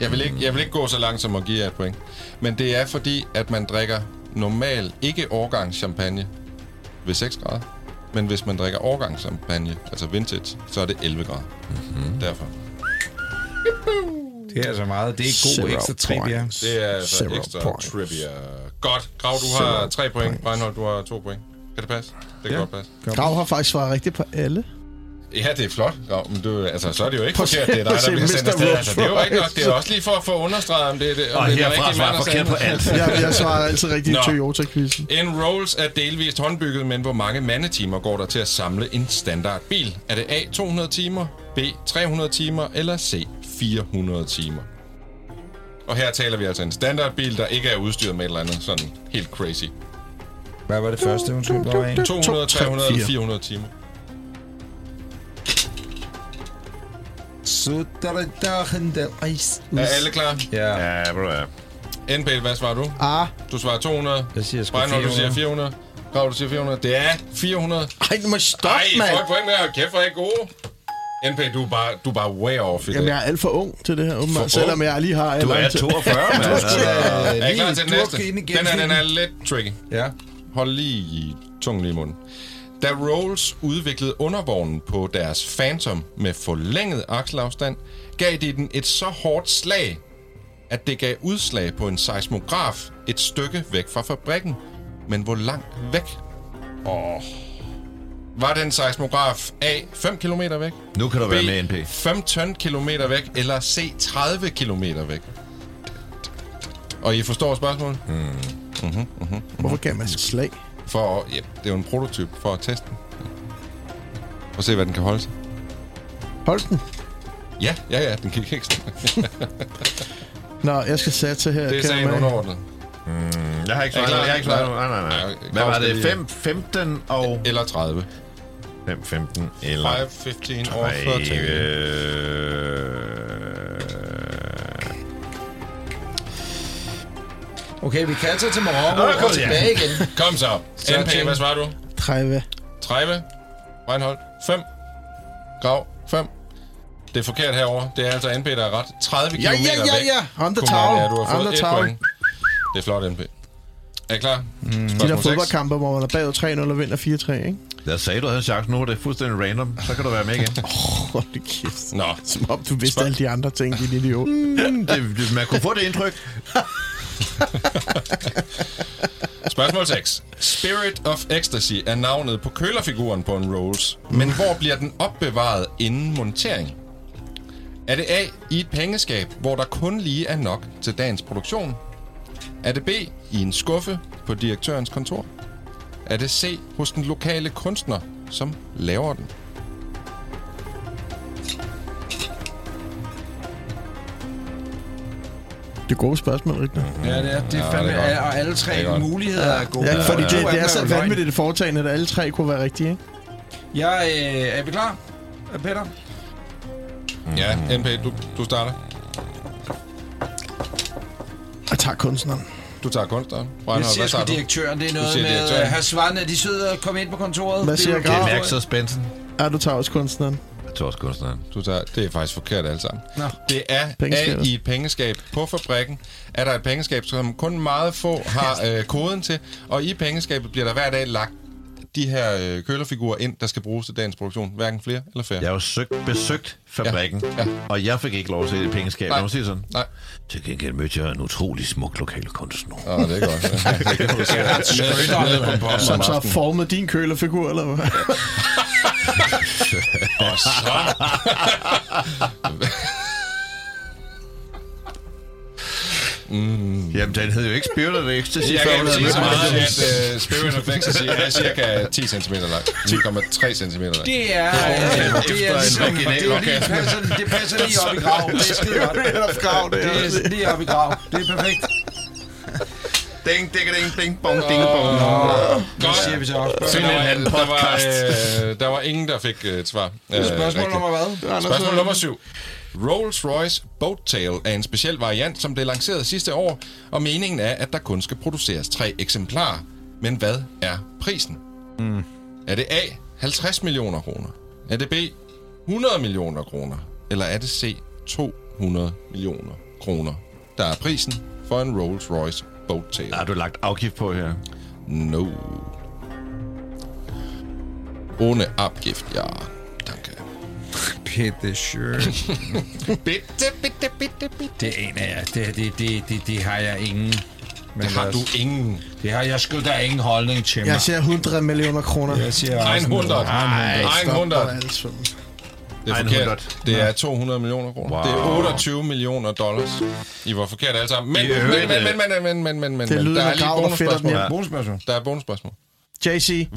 Jeg vil, ikke, jeg vil ikke gå så langt som at give jer et point. Men det er fordi, at man drikker normal ikke årgang champagne ved 6 grader. Men hvis man drikker årgang champagne, altså vintage, så er det 11 grader. Mm-hmm. Derfor. Det er altså meget. Det er Zero god ekstra trip, ja. points. Det er altså Zero ekstra points. trivia. Godt. Grav, du har 3 point. Breinholt, du har 2 point. Kan det passe? Det kan Ja. ja. godt passe. Grav har faktisk svaret rigtigt på alle. Ja, det er flot, Grav, men du, altså, så er det jo ikke Prøv at forkert, det er dig, se der bliver Mr. sendt afsted. Altså, det er jo Rolls ikke nok. Det er også lige for at få understreget, om det er det, om Og det er den herfra rigtige svarer mand, der forkert sagde på det. alt. Jeg, jeg svarer altid rigtigt i Nå. Toyota-quizzen. En Rolls er delvist håndbygget, men hvor mange mandetimer går der til at samle en standardbil? Er det A 200 timer, B 300 timer eller C 400 timer? Og her taler vi altså en standardbil, der ikke er udstyret med et eller andet sådan helt crazy. Hvad var det første, hun skulle blive af? 200, 300 400. eller 400 timer. Så der er der en del ice. Er alle klar? Ja. Ja, bro, ja. NPL, hvad svarer du? Ah, Du svarer 200. Jeg siger sgu Breinholt, du siger 400. 400. Grav, du siger 400. Det er 400. ej, nu må jeg Ej, stoppe, mand. får et point med. Hold kæft, hvor er I gode. NP, du er bare, du er bare way off i Jamen, dag. jeg er alt for ung til det her, ung? åbenbart. Selvom jeg lige har... Du er 42, mand. Altså, Er I klar til den næste? Den her, den er lidt tricky. Ja. Hold lige tungen lige i munden. Da Rolls udviklede undervognen på deres Phantom med forlænget akselafstand, gav de den et så hårdt slag, at det gav udslag på en seismograf et stykke væk fra fabrikken. Men hvor langt væk? Åh. Var den seismograf A 5 km væk, nu kan du B være med, NP. 15 km væk, eller C 30 km væk? Og I forstår spørgsmålet? Hvorfor gav man slag? for at, ja, det er jo en prototyp for at teste den. For at se, hvad den kan holde sig. Hold den. Ja, ja, ja, den gik ikke. Nå, jeg skal satse her. Det er kære sagen mand. underordnet. Jeg har ikke Er svaret. I klar? Jeg har ikke svaret. Nej, nej, Nej, nej. Claus Hvad var skal det? lige- 5, 15 og... Eller 30. 5, 15 eller 5, 15 over 13. Øh, 30. Okay, vi kan tage til Marokko Nå, kom og tilbage igen. Kom så. NP, hvad svarer du? 30. 30. Reinhold. 5. Grav. 5. Det er forkert herover. Det er altså NP, der er ret. 30 km Ja, ja, ja, ja. On the Godmorgen, towel. ja, du har On fået the et towel. point. Det er flot, NP. Er I klar? Mm. De der fodboldkampe, hvor man er bagud 3-0 og vinder 4-3, ikke? Jeg sagde, du havde en chance nu, er det er fuldstændig random. Så kan du være med igen. Hold da kæft. Nå. Som om du vidste alle de andre ting, din idiot. det, det, man kunne få det indtryk. Spørgsmål 6. Spirit of Ecstasy er navnet på kølerfiguren på en Rolls, men hvor bliver den opbevaret inden montering? Er det A i et pengeskab, hvor der kun lige er nok til dagens produktion? Er det B i en skuffe på direktørens kontor? Er det C hos den lokale kunstner, som laver den? Det er gode spørgsmål, ikke? Ja, det er, det er Ja, fandme, det er godt. ja, og alle Det er tre godt. muligheder er gode. Ja, fordi Og det, to af det dem er jo så løgn. vanvittigt et foretagende, at alle tre kunne være rigtige, ikke? Jeg, øh, er vi klar, Peter? Ja, NP, du, du starter. Jeg tager kunstneren. Du tager kunstneren. Jeg Reinhold, siger hvad sgu tager du? direktøren. Det er noget siger med, direktøren. øh, herr Svand, er de søde at komme ind på kontoret? Hvad Det er siger jo- Det er Grav? Max og Spensen. Ja, du tager også kunstneren. Jeg tror også kunstneren. Du tager, det er faktisk forkert alle sammen. Nå. Det er A Pengeskabet. i et pengeskab på fabrikken. Er der et pengeskab, som kun meget få har øh, koden til, og i pengeskabet bliver der hver dag lagt de her øh, kølerfigurer ind, der skal bruges til dagens produktion. Hverken flere eller færre. Jeg har jo søgt, besøgt fabrikken, Ja, ja, ja. ja. og jeg fik ikke lov at se det pengeskab. Nej. Lad mig sige sådan. Nej. Til gengæld mødte jeg en utrolig smuk lokal kunstner. Åh, det er godt. Ja, det kan du se. Nede på poppen om Som så har aftenen. formet din kølerfigur, eller hvad? Og så... Jamen, den hed jo ikke Spirit of Ecstasy, Jeg før kan hun havde sige så mødt mig. meget, at uh, Spirit of Ecstasy er cirka 10 cm lang. 10,3 cm lang. Det er, øh, det er en ligesom, det, er vaginal jo lige, orgasme. passer, det passer lige op i graven. Det er skide godt. Det er lige op i grav. Det er perfekt. Ding, ding, ding, ding, bong, ding, bong. Nu siger vi så også. Så der, var, anden der, var, podcast. øh, der var ingen, der fik øh, et svar. Øh, Spørgsmål rigtigt. nummer hvad? øh, Spørgsmål nummer syv. Rolls-Royce Boattail er en speciel variant, som blev lanceret sidste år, og meningen er, at der kun skal produceres tre eksemplarer. Men hvad er prisen? Mm. Er det A. 50 millioner kroner? Er det B. 100 millioner kroner? Eller er det C. 200 millioner kroner? Der er prisen for en Rolls-Royce Boattail. Der har du lagt afgift på her. No. Ohne Abgift, ja. Danke. Bitte schön. Bitte, bitte, bitte, bitte. Det aner jeg. Det, det, det, det, det har jeg ingen. Men altså, Det har du ingen. Det har jeg sgu da ingen holdning til mig. Jeg siger 100 millioner kroner. Jeg siger også 100. noget. Nej, Stop dig, 100. altså. Det er 100. forkert. Det er 200 millioner kroner. Wow. Det er 28 millioner dollars. I var forkert alle sammen. Men, I men, øvrigt, men, øh, men, men, men, men, men, men. Det lyder Der er af lige grav, der fedter den bonusspørgsmål. her. Bonusspørgsmål. Der er bonusspørgsmål. JC,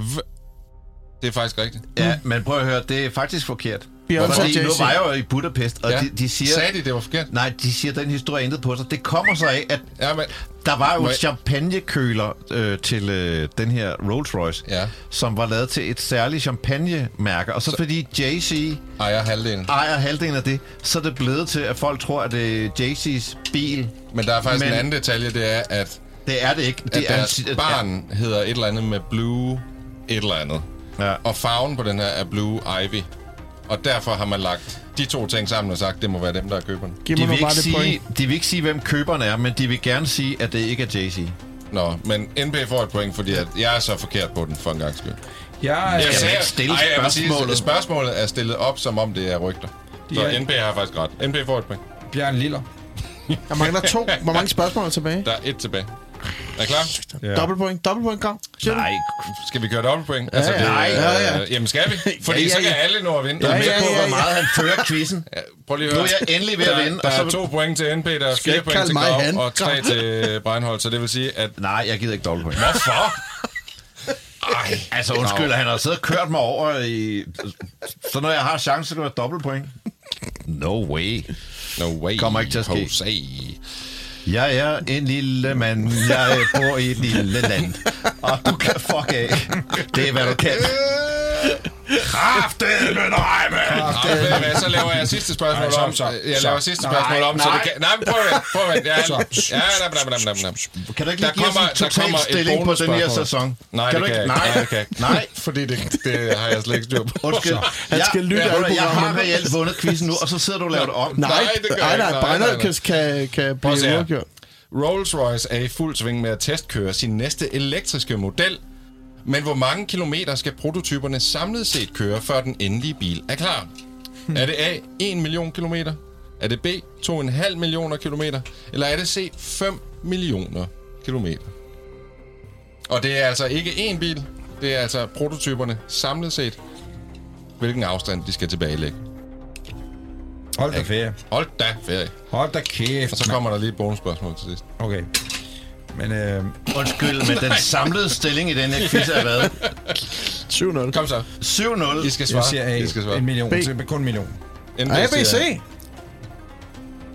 Det er faktisk rigtigt. Ja, men prøv at høre, det er faktisk forkert. Mm. Beyoncé Fordi og nu Jay-Z. var jeg jo i Budapest, og Ja. ja. de, de siger... Sagde de, det var forkert? Nej, de siger, at den historie er intet på sig. Det kommer så af, at Ja, men... Der var jo Må en jeg- champagnekøler øh, til øh, den her Rolls Royce, Ja. som var lavet til et særligt champagnemærke. Og så, så fordi Jay-Z Ejer halvdelen. ejer halvdelen af det, så er det blevet til, at folk tror, at det er Jay-Z's bil. Men der er faktisk Men- en anden detalje, det er, at Det er det ikke. Det at er deres en- barn hedder et eller andet med Blue et eller andet. Ja. Og farven på den her er Blue Ivy. Og derfor har man lagt de to ting sammen og sagt, det må være dem, der er køberne. Giv De vil, mig nu ikke bare det sige, point. de vil ikke sige, hvem køberen er, men de vil gerne sige, at det ikke er Jay-Z. Nå, men NP får et point, fordi at jeg er så forkert på den for en gang skyld. Jeg, Jeg man sagde- ikke stille Ej, jeg vil sige, spørgsmålet? spørgsmålet er stillet op, som om det er rygter. Så er- NP har faktisk ret. NP får et point. jeg bliver en liller. Jeg mangler to. Hvor mange spørgsmål er tilbage? Der er et tilbage. Er I klar? Ja. Dobbeltpoint. Dobbeltpoint, Grav. Siger du? Nej, Skal vi køre dobbeltpoint? Altså, det, Nej, ja, ja. Øh, jamen, skal vi? Fordi Ja, ja, ja, ja, så kan ja. alle nå at vinde. jeg Der er er med på, Ja, ja, hvor ja. meget han fører quizzen. mere- Prøv lige at Nu høre. er jeg endelig ved at Der- vinde, Der og er så- to point til NP, der er fire ikke point kalde til mig Grav han. og tre til øh, Breinholt, så det vil sige, at... Nej, jeg gider ikke dobbeltpoint. Hvorfor? Ej, Altså undskyld, han har siddet og kørt mig over i... Så når jeg har chancen, så kan det være dobbeltpoint. No way. no way, Kommer ikke til at ske. Jose. Jeg er en lille mand. Jeg bor i et lille land. Og du kan fuck af. Det er, hvad du kan. Kraftedeme, nej, mand! Nå, ved du hvad, så laver jeg sidste spørgsmål Nej, stop, om. stop, Jeg laver stop. sidste Nej, spørgsmål om, så det nej. kan... Nej, men prøv at prøv at ja, ja, nam, nam, nam, nam, nam. Kan du ikke Der lige give kommer- os der en total kommer et stilling på den her bonusspørgsmål. sæson? Nej, kan det du kan ikke? jeg ikke. Nej, Nej, det kan jeg ikke. nej. Fordi det, det har jeg slet ikke styr på. Undskyld. Han skal lytte jeg, alle jeg, jeg har programmerne. reelt vundet quizzen nu, og så sidder du og laver det om. Nej, det gør nej, jeg nej, ikke. Nej, nej, Brejner nej. kan, kan, kan Prøv at se blive her. uafgjort. Rolls-Royce er i fuld sving med at testkøre sin næste elektriske model, men hvor mange kilometer skal prototyperne samlet set køre, før den endelige bil er klar? Er det A, 1 million kilometer? Er det B, 2,5 millioner kilometer? Eller er det C, 5 millioner kilometer? Og det er altså ikke én bil, det er altså prototyperne samlet set, hvilken afstand de skal tilbagelægge. Hold da ferie. Hold da ferie. Hold da kæft. Og så kommer der lige et bonusspørgsmål til sidst. Okay. Men øh, Undskyld, men den samlede stilling i den her quiz er hvad? 7-0. Kom så. 7-0. I skal svare. jeg siger A, I skal svare. en million. B. Så kun en million. Enten A, B, siger C. jeg-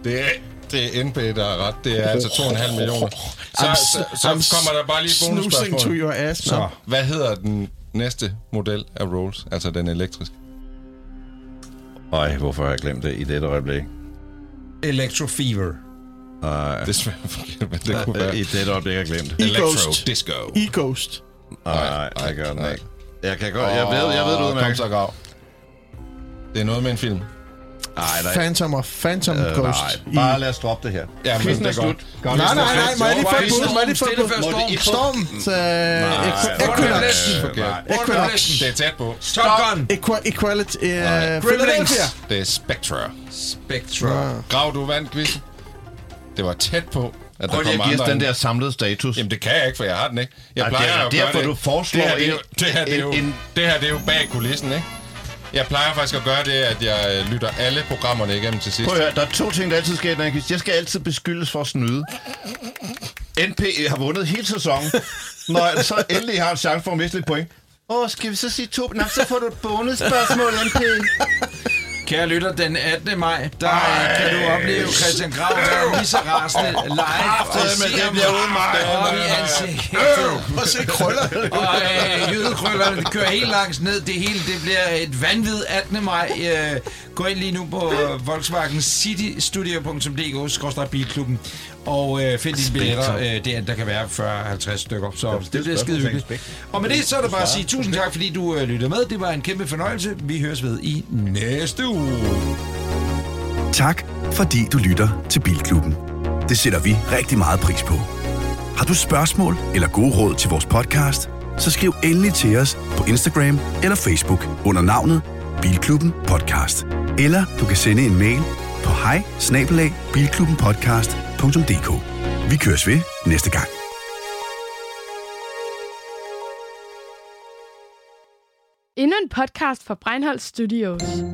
Det er, det er NP, der er ret. Det er altså 2,5 millioner. Så, så, så kommer der bare lige et Snoozing to bonusspørgsmål. your ass. Så. Nå. Hvad hedder den næste model af Rolls? Altså den elektriske. Ej, hvorfor har jeg glemt det i dette øjeblik? Electro Fever. Nej, Det er svært forkert, men det kunne i være. dette øjeblik har jeg glemt det. Electro Ghost. Disco. E-Ghost. Nej, nej, det gør den nej. ikke. Jeg kan godt, jeg ved, jeg ved det Åh, Kom udmærket. så, grav. Det er noget med en film. Nej, nej. Phantom og Phantom Øh, Ghost. nej, bare lad os droppe det her. Ja, men Quizzen det er slut. er godt. Godt. Nej, nej, nej, må jeg lige få et bud? Må jeg lige få et bud? Stille før storm. Storm. Nej, eh, Equinox. Forkert. Equinox. Det er tæt på. Top Gun. Equa- Equality. øh, Gremlins. Philadelphia. Det er Spectre. Spectra. Grav, du vandt quizzen. Det var tæt på, at der Prøv lige kom at give os andre den end- der samlede status. Jamen det kan jeg ikke, for jeg har den ikke. Jeg Ej, plejer det er jo at derfor, gøre det. du foreslår det her, det er jo, en- det her, det er jo, en- en- det her det er jo bag kulissen, ikke? Jeg plejer faktisk at gøre det, at jeg øh, lytter alle programmerne igennem til sidst. Prøv at høre, der er to ting, der altid sker i den her quiz. Jeg skal altid beskyldes for at snyde. NP har vundet hele sæsonen. Når jeg så endelig har en chance for at miste lidt point. Åh, oh, skal vi så sige to? Nej, så får du et bonusspørgsmål, E. NP. Kære lytter, den 18. maj, der Ej, kan du opleve Christian Grav, der er lige så rasende live og Kraftedeme, siger det bliver uden mig. op i ansigtet. Og se krøller. Og øh, jydekrøllerne det kører helt langs ned. Det hele det bliver et vanvid 18. maj. Øh, gå ind lige nu på øh, Volkswagen Citystudio.dk skorstræk bilklubben og øh, find dine billetter. Øh, det, er- der kan være 40-50 stykker, så det bliver skide hyggeligt. Og med det så er det bare at sige tusind tak, fordi du øh, lyttede med. Det var en kæmpe fornøjelse. Vi høres ved i næste uge. Tak, fordi du lytter til Bilklubben. Det sætter vi rigtig meget pris på. Har du spørgsmål eller gode råd til vores podcast, så skriv endelig til os på Instagram eller Facebook under navnet Bilklubben Podcast. Eller du kan sende en mail på hej Vi køres ved næste gang. Endnu en podcast fra Breinholt Studios.